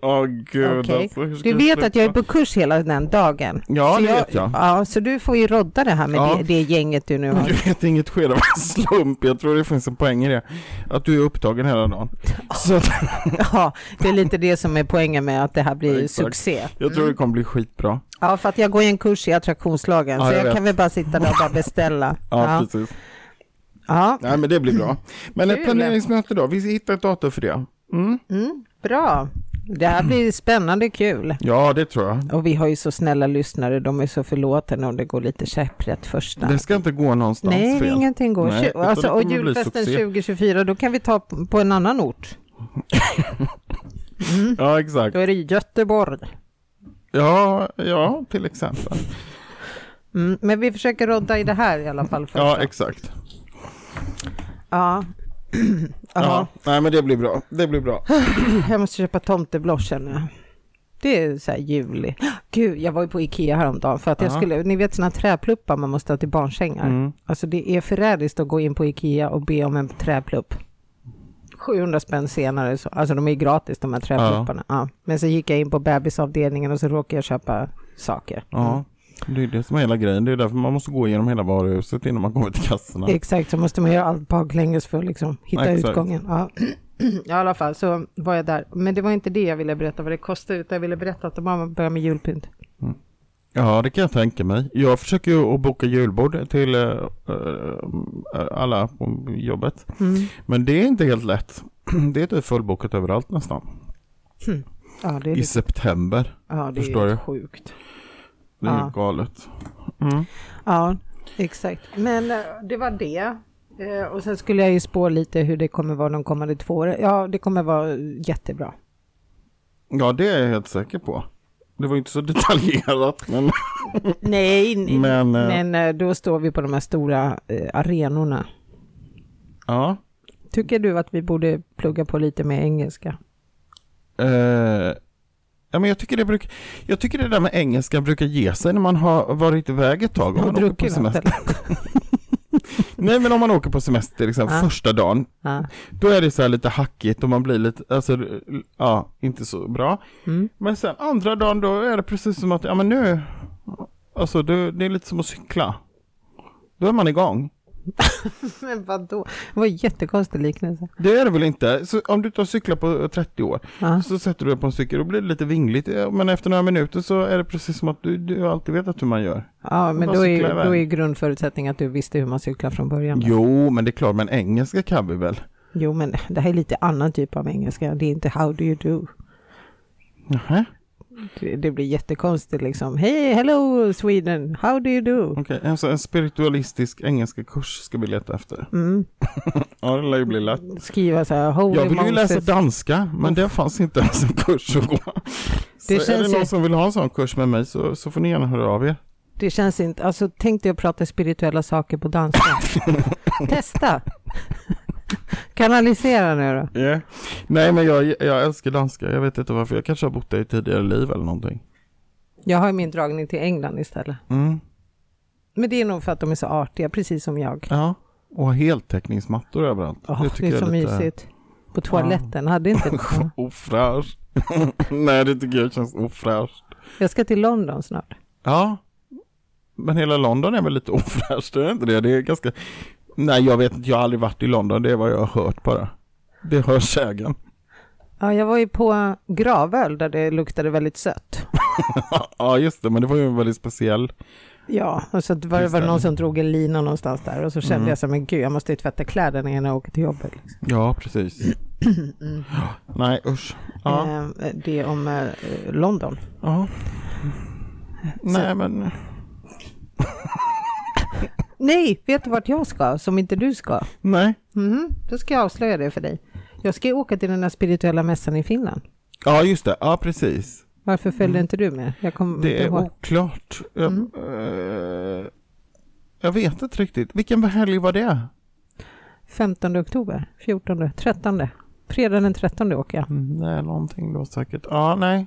Åh gud
Okej.
alltså, hur ska
Du
vi
vet
släppa?
att jag är på kurs hela den dagen.
Ja,
så
det vet jag.
Ja, så du får ju rodda det här med
Ja.
det, det gänget du nu
Men
har.
du vet inget sker av en slump, jag tror det finns en poäng i det. Att du är upptagen hela dagen. Så att,
Ja, det är lite det som är poängen med att det här blir
Exakt.
succé.
jag tror det kommer bli skitbra.
Ja, för att jag går i en kurs i attraktionslagen,
Ja,
så
jag
jag
vet.
kan väl bara sitta där och bara beställa.
Ja,
Ja.
precis.
ja.
Nej men det blir bra. Men ett
Kul.
planeringsmöte då, vi hittar ett datum för det. Mm.
Mm, bra. Det här blir spännande kul.
Ja det tror jag.
Och vi har ju så snälla lyssnare, de är så förlåtande om det går lite käpprätt första.
Det ska inte gå någonstans
Nej,
fel.
ingenting går.
Nej,
Tju-
utan
alltså,
det
och
kommer bli
julfesten
succé.
2024, då kan vi ta p- på en annan ort.
Ja exakt.
Då är det Göteborg.
Ja, ja till exempel.
Mm, men vi försöker rodda i det här i alla fall. Först.
Ja
Ja,
exakt.
ja.
Ja,
Jaha,
nej men det blir bra. Det blir bra.
Jag måste köpa tomtebloschen nu. Det är så här juli. Gud, jag var ju på Ikea häromdagen för att jag
Ja.
skulle, ni vet sådana träpluppar man måste ha till barnsängar.
Mm.
Alltså det är förrädiskt att gå in på Ikea och be om en träplupp. 700 spänn senare, så, alltså de är ju gratis de här träplupparna. Ja. Men så gick jag in på bebisavdelningen och så råkade jag köpa saker.
Ja, det är det som är hela grejen. Det är därför man måste gå igenom hela varuhuset innan man kommer till kassorna.
Exakt, så måste man göra allt baklänges för att liksom hitta
Exakt.
utgången. Ja. I alla fall så var jag där. Men det var inte det jag ville berätta vad det kostar, utan jag ville berätta att de bara börjar med julpynt.
Ja, det kan jag tänka mig. Jag försöker ju att boka julbord till eh, eh, alla på jobbet.
Mm.
Men det är inte helt lätt. Det är typ fullbokat överallt nästan.
Ja, det är,
I
lite,
september.
ja, det
förstår
är
jag.
ju sjukt.
Det är
Ja.
ju galet. Mm.
Ja, exakt. Men eh, det var det. Eh, Och sen skulle jag ju spå lite hur det kommer vara de kommande två åren. Ja, det kommer vara jättebra.
Ja, det är jag helt säker på. Det var ju inte så detaljerat, men...
Nej, nej. Men,
men eh,
eh, då står vi på de här stora eh, arenorna.
ja.
Tycker du att vi borde plugga på lite mer engelska?
Eh, ja, men jag tycker, det bruk, jag tycker det där med engelska brukar ge sig när man har varit iväg ett tag. Om
Och
man åker på
druckit något?
semester.
eller?
Nej, men om man åker på semester till exempel
Ja.
första dagen,
Ja.
då är det så här lite hackigt och man blir lite, alltså, ja, inte så bra.
Mm.
Men sen andra dagen då är det precis som att, ja men nu, alltså det, det är lite som att cykla. Då är man igång.
Men vadå? Det var en jättekonstig liknelse.
Det är det väl inte? Så om du tar och cyklar på 30 år,
Ja.
så sätter du dig på en cykel, då blir det lite vingligt, ja, men efter några minuter så är det precis som att du, du alltid vetat hur man gör.
Ja, men
Bara
då är, ju-
cykla iväg.
då är ju grundförutsättningen att du visste hur man cyklar från början. Jo.
Jo, men det är klart, men engelska kan vi väl?
jo, men det här är lite annan typ av engelska. Det är inte how do you do.
Nähä?
det- det blir jättekonstigt liksom. Hej, hello Sweden, how do you do?
Okej, alltså en spiritualistisk engelska kurs ska vi leta efter.
Mm.
Ja, det lär ju bli lätt.
Skriva så här, holy
Jag vill ju läsa
Moses.
danska, men det fanns inte ens en kurs att gå. Så
Det
är
känns
det
ju-
någon som vill ha en sån kurs med mig så, så får ni gärna höra av er.
Det känns inte, alltså tänk dig att prata spirituella saker på danska. Testa! Kanalisera nu då.
Ja. Nej, men jag, jag älskar danska. Jag vet inte varför. Jag kanske har bott där i tidigare liv eller någonting.
Jag har ju min dragning till England istället.
Mm.
Men det är nog för att de är så artiga, precis som jag.
Ja, och har heltäckningsmattor överallt.
Åh, det
tycker
är så
jag lite
mysigt. På toaletten, hade inte det.
Ofräscht. Nej, det tycker jag känns ofräscht.
Jag ska till London snart.
Ja, men hela London är väl lite ofräscht, är det inte det? Det är ganska... Nej, jag vet inte. Jag har aldrig varit i London. Det är vad jag har hört bara. Det hör sägen.
Ja, jag var ju på Gravöl där det luktade väldigt sött.
ja, just det. Men det var ju en väldigt speciell.
Ja, och så var det
Just
var
det.
någon som drog en lina någonstans där och så kände
Mm.
jag så här, men gud, jag måste ju tvätta kläderna innan jag åker till jobbet. Liksom.
Ja, precis.
Mm.
Nej, usch. Ja.
Eh, Det om eh, London.
ja. Nej, men...
Nej, vet du vart jag ska som inte du ska?
Nej.
Mhm, då ska jag avslöja det för dig. Jag ska ju åka till den här spirituella mässan i Finland.
Ja, just det. Ja, precis.
Varför följde inte du med? Jag kommer
Mm. Det
inte
är
ihåg.
oklart. Jag,
Mm.
eh, jag vet inte riktigt. Vilken helg var det?
15 oktober, 14, 13. Fredag den 13 åker jag.
Nej, någonting då säkert. Ja, nej.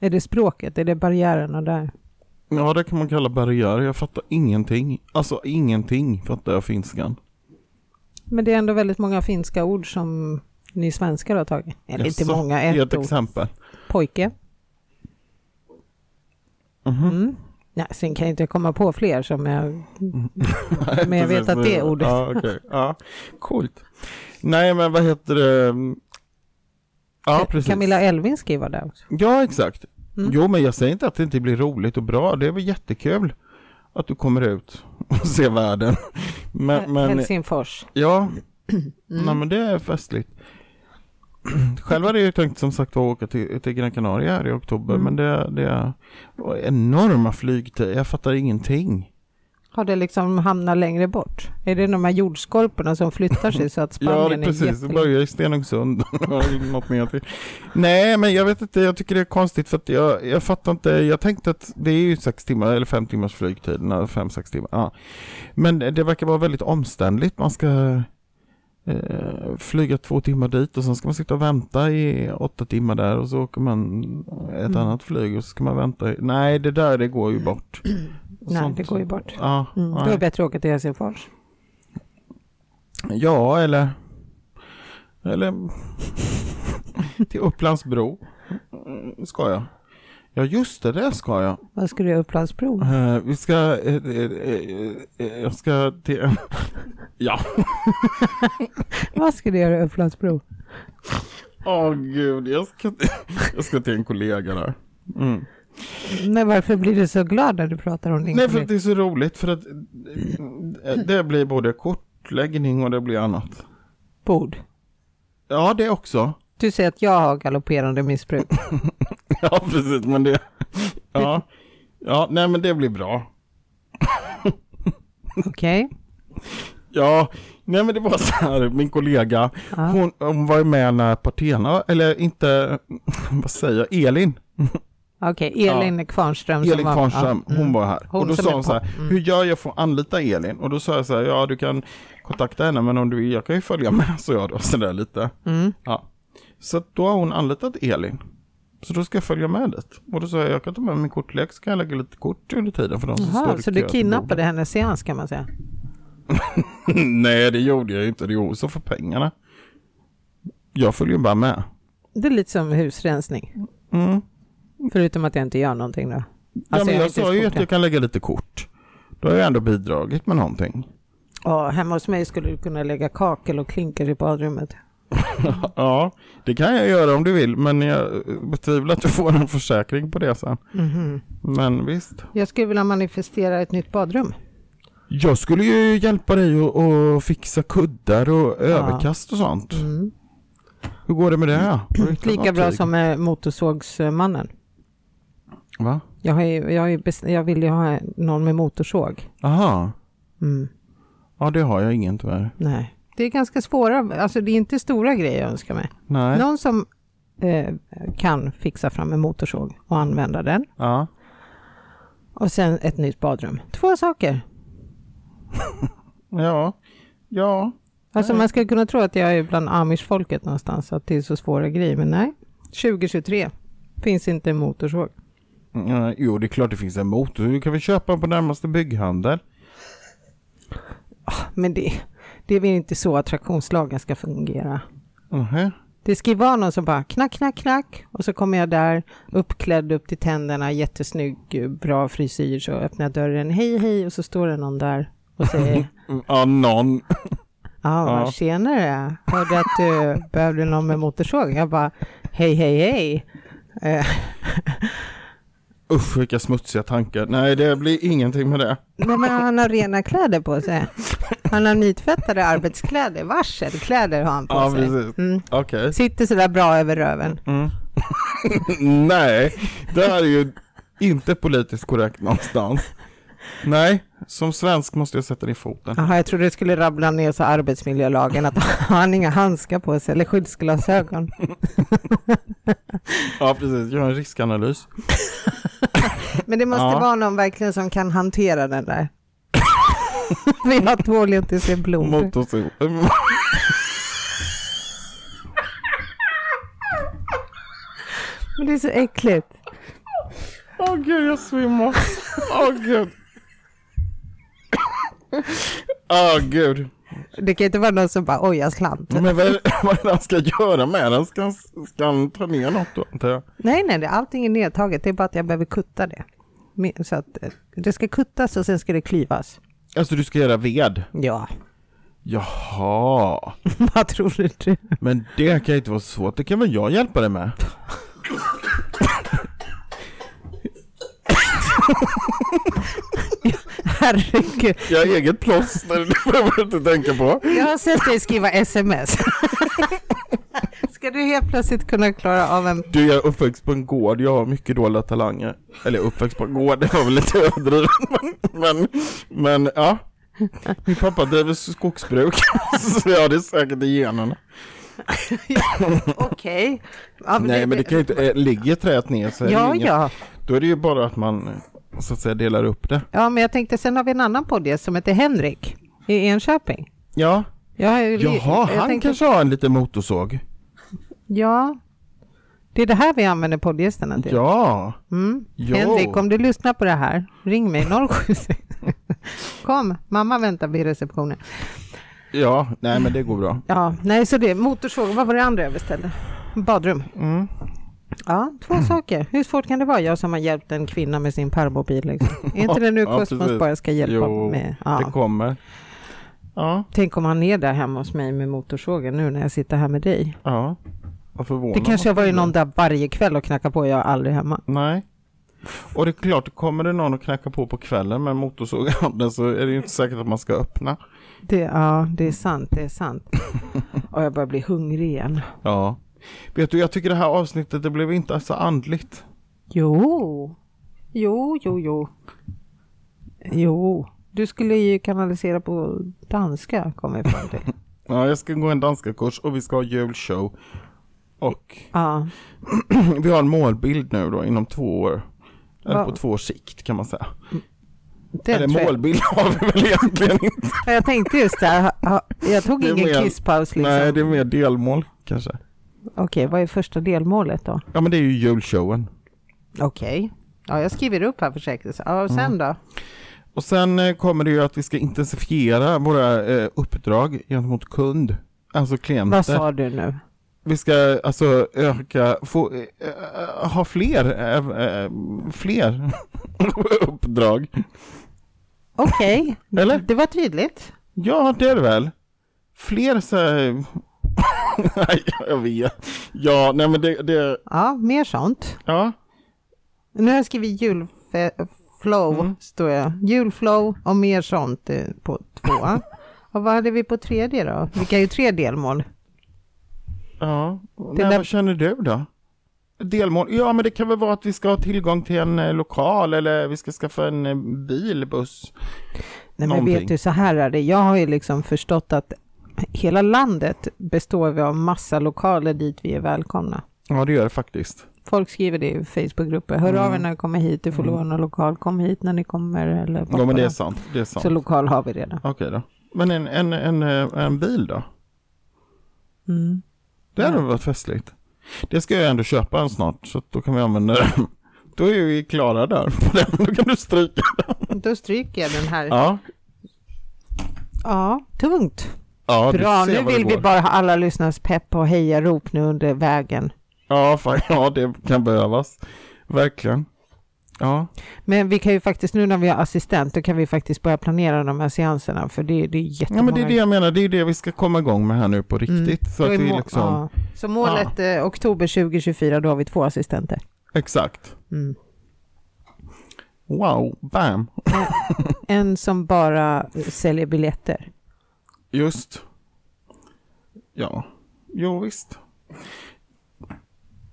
Är det språket? Är det barriärerna där?
Ja, det kan man kalla barriär. Jag fattar ingenting. Alltså ingenting fattar jag finskan.
Men det är ändå väldigt många finska ord som ni svenskar har tagit. Eller inte
Jaså,
många,
Ge
ett
ett
ord.
exempel.
Pojke.
Mhm.
Mm. Nej, sen kan jag inte komma på fler som jag... Men jag vet
Precis,
att det är ordet.
Ja, okej. ja. Coolt. Nej, men vad heter det? Ja, precis.
Camilla Elvin skriver där också.
Ja, exakt.
Mm.
Jo, men jag säger inte att det inte blir roligt och bra. Det är väl jättekul att du kommer ut och ser världen. Men, men
Helsingfors. Mm.
ja, nej, men det är festligt. Själv hade jag ju tänkt som sagt att åka till, till Gran Canaria här i oktober,
Mm.
men det, det var enorma flygtider. Jag fattar ingenting.
Har det liksom hamnat längre bort? Är det de här jordskorporna som flyttar sig så att
Ja,
Spanien
det,
är
precis. Det
jättelångt?
börjar i Stenungsund. Något mer till. Nej, men jag vet inte. Jag tycker det är konstigt för att jag, jag fattar inte. Jag tänkte att det är ju sex timmar eller fem timmars flygtid. nej, Fem, sex timmar. Ja. Men det verkar vara väldigt omständligt. Man ska eh, flyga två timmar dit och sen ska man sitta och vänta i åtta timmar där och så åker man ett
Mm.
annat flyg och så ska man vänta. i- Nej, det där det går ju bort.
Nej, det går ju bort.
Ja,
Mm. Då är
nej.
det bättre att åka till Helsingfors.
Ja, eller... Eller... till Upplandsbro. Mm, Ska jag. Ja, just det, det ska jag.
Vad ska du göra i Upplandsbro?
Eh, vi ska... eh, eh, eh, eh, jag ska till... ja.
Vad ska du göra i Upplandsbro?
Åh gud, jag ska, jag ska till en kollega där. Mm.
Men varför blir du så glad när du pratar om din
Nej, för att
kollega?
det är så roligt för att eh, det blir både kortläggning och det blir annat.
bord?
Ja, det också.
Du säger att jag har galopperande missbruk.
Ja, precis, men det... Ja, ja nej men det blir bra.
Okej?
Ja, nej men det var så här, min kollega,
Ja.
hon, hon var ju med när Partena, eller inte, vad säger jag, Elin,
Okej, Elin Kvarnström. som
Elin
var-
Kvarnström,
ja,
hon var här.
Hon
och då
som
sa
är
hon så här,
på- mm.
hur gör jag för att anlita Elin? Och då sa jag så här, ja du kan kontakta henne, men om du vill, jag kan ju följa med, så jag då, sådär lite.
Mm.
Ja. Så att då har hon anlitat Elin. Så då ska jag följa med dit. Och då sa jag, jag kan ta med min kortlek, så kan jag lägga lite kort under tiden för de som står
Jaha, så
i kö
du
till
kidnappade hennes seans kan man säga?
Nej, det gjorde jag inte. Det gjorde jag så för pengarna. Jag följer bara med.
Det är lite som husrensning.
Mm.
Förutom att jag inte gör någonting då.
ja,
Alltså,
men
jag har
jag
inte
sa ju
skott
att
än.
jag kan lägga lite kort. Då har jag ändå bidragit med någonting.
Ja, hemma hos mig skulle du kunna lägga kakel och klinker i badrummet.
ja, det kan jag göra om du vill, men jag betvivlar att du får en försäkring på det sen.
Mhm.
Men visst.
Jag skulle vilja manifestera ett nytt badrum.
Jag skulle ju hjälpa dig att- att fixa kuddar och överkast och sånt.
Mm.
Hur går det med det? Har du hittat
Lika
något
bra
tyg?
som eh, motorsågsmannen.
Va?
Jag, har ju, jag, har ju bes- jag vill ju ha någon med motorsåg.
Aha.
Mm,
Ja, det har jag ingen tyvärr.
nej. Det är ganska svåra, alltså det är inte stora grejer jag önskar mig.
Nej.
Någon som eh, kan fixa fram en motorsåg och använda den.
Ja.
Och sen ett nytt badrum. Två saker.
Ja. Ja.
Alltså
Nej.
man skulle kunna tro att jag är bland amishfolket någonstans, att det är så svåra grejer, men nej. 2023 finns inte en motorsåg.
Mm, Jo, det är klart det finns en motor. Du kan väl köpa den på närmaste bygghandel?
Men det, det är väl inte så attraktionslagen ska fungera.
Mhm.
Det ska ju vara någon som bara knack, knack, knack och så kommer jag där uppklädd upp till tänderna, jättesnygg, bra frisyr, så öppnar jag dörren, hej, hej, och så står det någon där och säger
Mm, Ja, någon.
Ja,
Ja.
vad tjenare. Hörde att du behövde någon med motorsåg. Jag bara, hej, hej, hej. Eh,
Usch, vilka smutsiga tankar. Nej, det blir ingenting med det.
nej, men han har rena kläder på sig. Han har nytvättade arbetskläder. Varselkläder har han på
Ja,
sig.
precis.
Mm.
Okej.
Sitter sådär bra över röven.
Nej, det här är ju inte politiskt korrekt någonstans. Nej, som svensk måste jag sätta ner foten.
Jaha, jag trodde du skulle rabbla ner så arbetsmiljölagen att har han inga handskar på sig eller skyddsglasögon.
Ja, precis. Gör en riskanalys.
Men det måste
Ja.
vara någon verkligen som kan hantera den där. Vi har tvål jag inte ser blommor.
Motorsåg.
Men det är så äckligt.
Åh gud, jag svimmar. Åh gud. Åh gud.
Det kan inte vara någon som bara, oj, jag slant.
Men vad är det- vad är det han ska göra med den? Ska han, ska han ta ner något då, antar jag?
Nej, nej, det, allting är nedtaget. Det är bara att jag behöver kutta det. Me- Så att eh, det ska kuttas och sen ska det klyvas.
Alltså, du ska göra ved?
Ja,
Jaha.
vad tror du?
Men det kan ju inte vara så svårt, det kan väl jag hjälpa dig med?
Herregud.
Jag har eget plåster, det behöver du inte tänka på.
Jag har sett dig skriva sms. ska du helt plötsligt kunna klara av en...
Du, jag är uppväxt på en gård, jag har mycket dåliga talanger. Eller uppväxt på en gård, det var väl lite överdrivet. Men, men, men ja. Min pappa driver skogsbruk, så ja det är säkert i generna.
Okej. Ja,
Nej men det kan ju inte, eh, ligger träet ner så är det
Ja,
inget.
ja.
Då är det ju bara att man eh, så att säga delar upp det.
Ja, men jag tänkte, sen har vi en annan podd som heter Henrik i Enköping.
Ja,
Jag, har ju-
jaha,
jag
han
tänkte-
kanske har en liten motorsåg.
Ja. Det är det här vi använder poddgästerna till.
Ja,
Mm.
Jo.
Henrik, om du lyssnar på det här, ring mig 076. Kom, mamma väntar vid receptionen.
ja, nej men det går bra.
Ja, nej, så det, motorsåg, vad var det andra jag beställde? Badrum.
Mm.
Ja, två saker. Hur svårt kan det vara? Jag som har hjälpt en kvinna med sin permobil. Liksom. Är inte det nu
Ja,
Cosmos
precis.
bara ska hjälpa
Jo,
med?
Det
Ja.
kommer. Ja,
Tänk om han är där hemma hos mig med motorsågen nu när jag sitter här med dig.
ja. Vad förvånad
Det kanske har
man
varit
blir.
någon där varje kväll och knackar på och jag är aldrig hemma.
Nej. Och det är klart, kommer det någon och knackar på på kvällen med en motorsåg i handen så är det ju inte säkert att man ska öppna.
Det, ja, det är sant, det är sant. Och jag börjar bli hungrig igen.
Ja. Vet du, jag tycker det här avsnittet, det blev inte så andligt.
Jo. Jo, jo, jo. Jo. Du skulle ju kanalisera på danska, kom jag fram till.
Ja, jag ska gå en danska kurs och vi ska ha julshow. Och
Ja.
vi har en målbild nu då inom två år. Eller
Va?
på två års sikt kan man säga.
Den
Eller
tror jag.
målbild har vi väl egentligen inte.
Ja, Jag tänkte just det, här, ha- ha- jag tog
Det är
ingen
mer-
kisspaus liksom.
Nej, det är mer delmål kanske.
Okej, vad är första delmålet då?
Ja, men det är ju julshowen.
Okej. Mm. Ja, jag skriver upp här för säkerhets Ja, och sen då?
Och sen eh, kommer det ju att vi ska intensifiera våra eh, uppdrag gentemot kund, alltså klienter.
Vad sa du nu?
Vi ska alltså öka, få, eh, eh, ha fler, eh, eh, fler uppdrag.
Okej,
Eller?
det var tydligt.
Ja, det är det väl. Fler så här... Nej, jag vet. Ja, nej men det, det
Ja, mer sånt.
ja.
Nu har jag skrivit julflow,
Mm.
står jag. Julflow och mer sånt eh, på två. och vad hade vi på tredje då? Vilka är ju tre delmål.
Ja,
Det
nej,
där-
vad känner du då? Delmål? Ja, men det kan väl vara att vi ska ha tillgång till en eh, lokal eller vi ska skaffa en eh, bil, buss.
Nej, men
Någonting.
vet du, så här är det. Jag har ju liksom förstått att hela landet består vi av massa lokaler dit vi är välkomna.
Ja, det gör det faktiskt.
Folk skriver det i Facebookgrupper. Hör
Mm.
av er när ni kommer hit, du får låna lokal. Kom hit när ni kommer. Eller
Ja, men det är sant. Det är sant.
Så lokal har vi redan.
Okej då. Men en, en, en, eh, en bil då?
Mm.
Det hade varit festligt. Det ska jag ändå köpa en snart, så att då kan vi använda den. Då är vi klara där på den. Då kan du stryka.
Då stryker jag den här. Ja,
Ja,
tungt.
ja du
Bra,
ser
nu
vad det
vill vi
går.
bara ha alla lyssnares pepp och hejarop nu under vägen.
Ja, fan, ja, det kan behövas. Verkligen. Ja,
Men vi kan ju faktiskt, nu när vi har assistent, då kan vi faktiskt börja planera de här seanserna, för det, det är
ja
jättemånga.
men det är det jag menar. Det är det vi ska komma igång med här nu på riktigt. Så
Mm. Då
att
är
vi
må-
liksom,
ja. Så målet eh, oktober 2024, då har vi två assistenter.
exakt.
Mm.
Wow, bam.
En som bara eh, säljer biljetter.
Just. Ja, jo visst.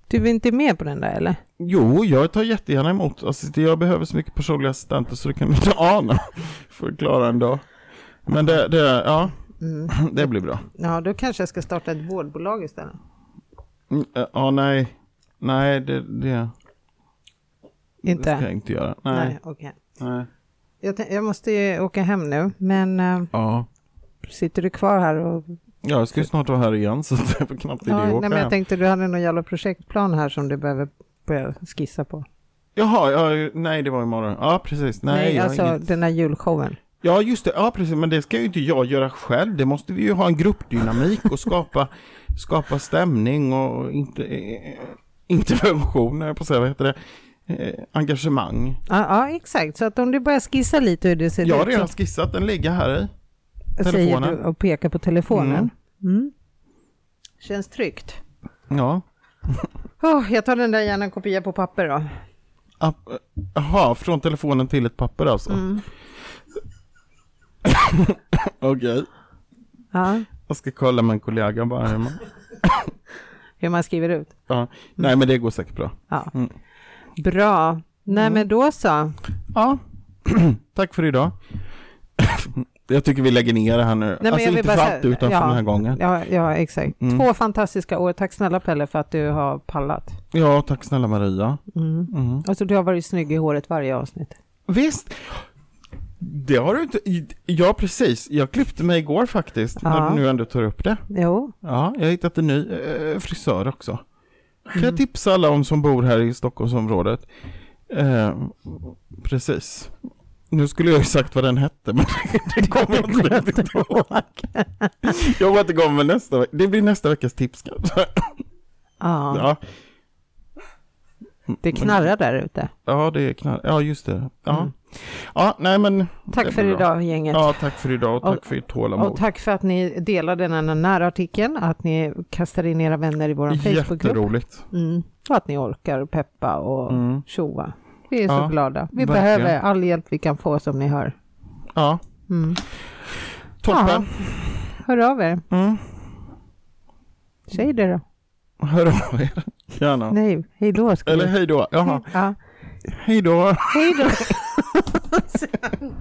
Du är inte med på den där eller?
Jo, jag tar jättegärna emot. Alltså, det- jag behöver så mycket personliga assistenter så det kan du inte ana. För att klara en dag. Men det, det, ja,
Mm.
det blir bra.
Ja, då kanske jag ska starta ett vårdbolag istället.
Mm, äh, Ja, nej. Nej, det, det, det ska
Inte?
jag inte göra. Nej.
Nej, okej.
nej.
Jag, tän- jag måste ju åka hem nu, men eh,
Ja.
sitter du kvar här och...
Ja, jag ska ju snart vara här igen så det är knappt idé
Ja,
att
nej,
åka
men jag
hem.
tänkte du hade någon jävla projektplan här som du behöver börja skissa på.
Jaha, ja, nej det var imorgon. Ja, precis. Nej, jag har
alltså
inget...
den här julshowen.
Ja, just det. Ja, precis. Men det ska ju inte jag göra själv. Det måste vi ju ha en gruppdynamik och skapa, skapa stämning och inte, eh, intervention, höll jag på att säga, vad heter det? Eh, engagemang.
Ja, ja, exakt. Så att om du börjar skissa lite hur det ser
Jag har
ut,
redan skissat, den ligger här i.
så säger du
telefonen.
och pekar på telefonen.
Mm.
Mm. Känns tryggt.
Ja.
Oh, jag tar den där gärna en kopia på papper då.
App- Jaha, från telefonen till ett papper alltså.
Mm.
Okej,
Ja,
jag ska kolla med en kollega bara hemma.
hur man skriver ut.
Ja. Nej, men det går säkert bra.
Ja.
Mm.
Bra. Nej men då så.
Ja, tack för idag. jag tycker vi lägger ner det här nu.
men
alltså
jag vill
inte
bara
för
säga-
alltid utan för
ja.
den här gången.
Ja, ja exakt.
Mm.
Två fantastiska år. Tack snälla Pelle för att du har pallat.
Ja, tack snälla Maria.
Mm.
Mm.
Alltså du har varit snygg i håret varje avsnitt.
Visst, det har du inte. Ja, precis. Jag klippte mig igår faktiskt, när
Ja.
du nu ändå tar upp det.
Jo,
Ja, jag har hittat en ny eh, frisör också. Kan jag tipsa alla om som bor här i Stockholmsområdet? Eh, precis. Nu skulle jag ju sagt vad den hette, men det kommer jag inte riktigt ihåg. Jag återkommer med nästa vecka. Det blir nästa veckas tips kanske.
ja.
Ja, Mm.
det knarrar där ute.
ja det är knall. Ja, just det. Ja,
Mm.
ja nej men. det
Tack för
blir bra.
idag gänget.
Ja, tack för idag och tack
Och-
för ert
Och
tålamod.
tack för att ni delade den här nära artikeln, att ni kastar in era vänner i vår Facebookgrupp.
Jätteroligt.
Mm. Och att ni orkar peppa och
Mm.
tjoa. Vi är
Ja,
så glada. Vi
verkligen.
behöver all hjälp vi kan få som ni hör.
Ja,
Mm.
toppen.
Hör av er.
Mm.
Säg det då.
Hör av er. Gärna.
Nej, hej då. ska
Eller
vi-
hej då. Jaha,
Ja.
hej då.
Hej då.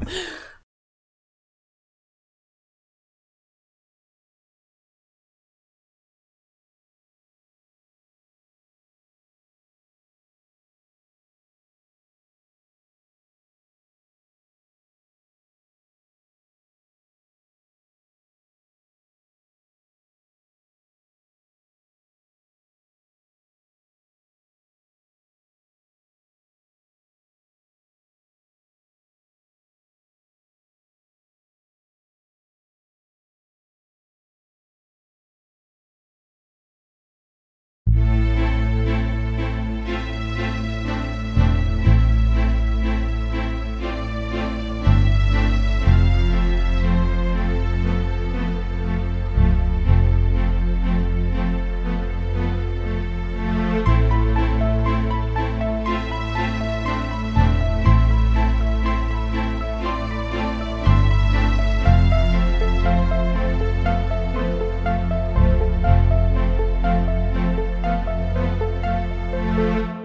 Hej.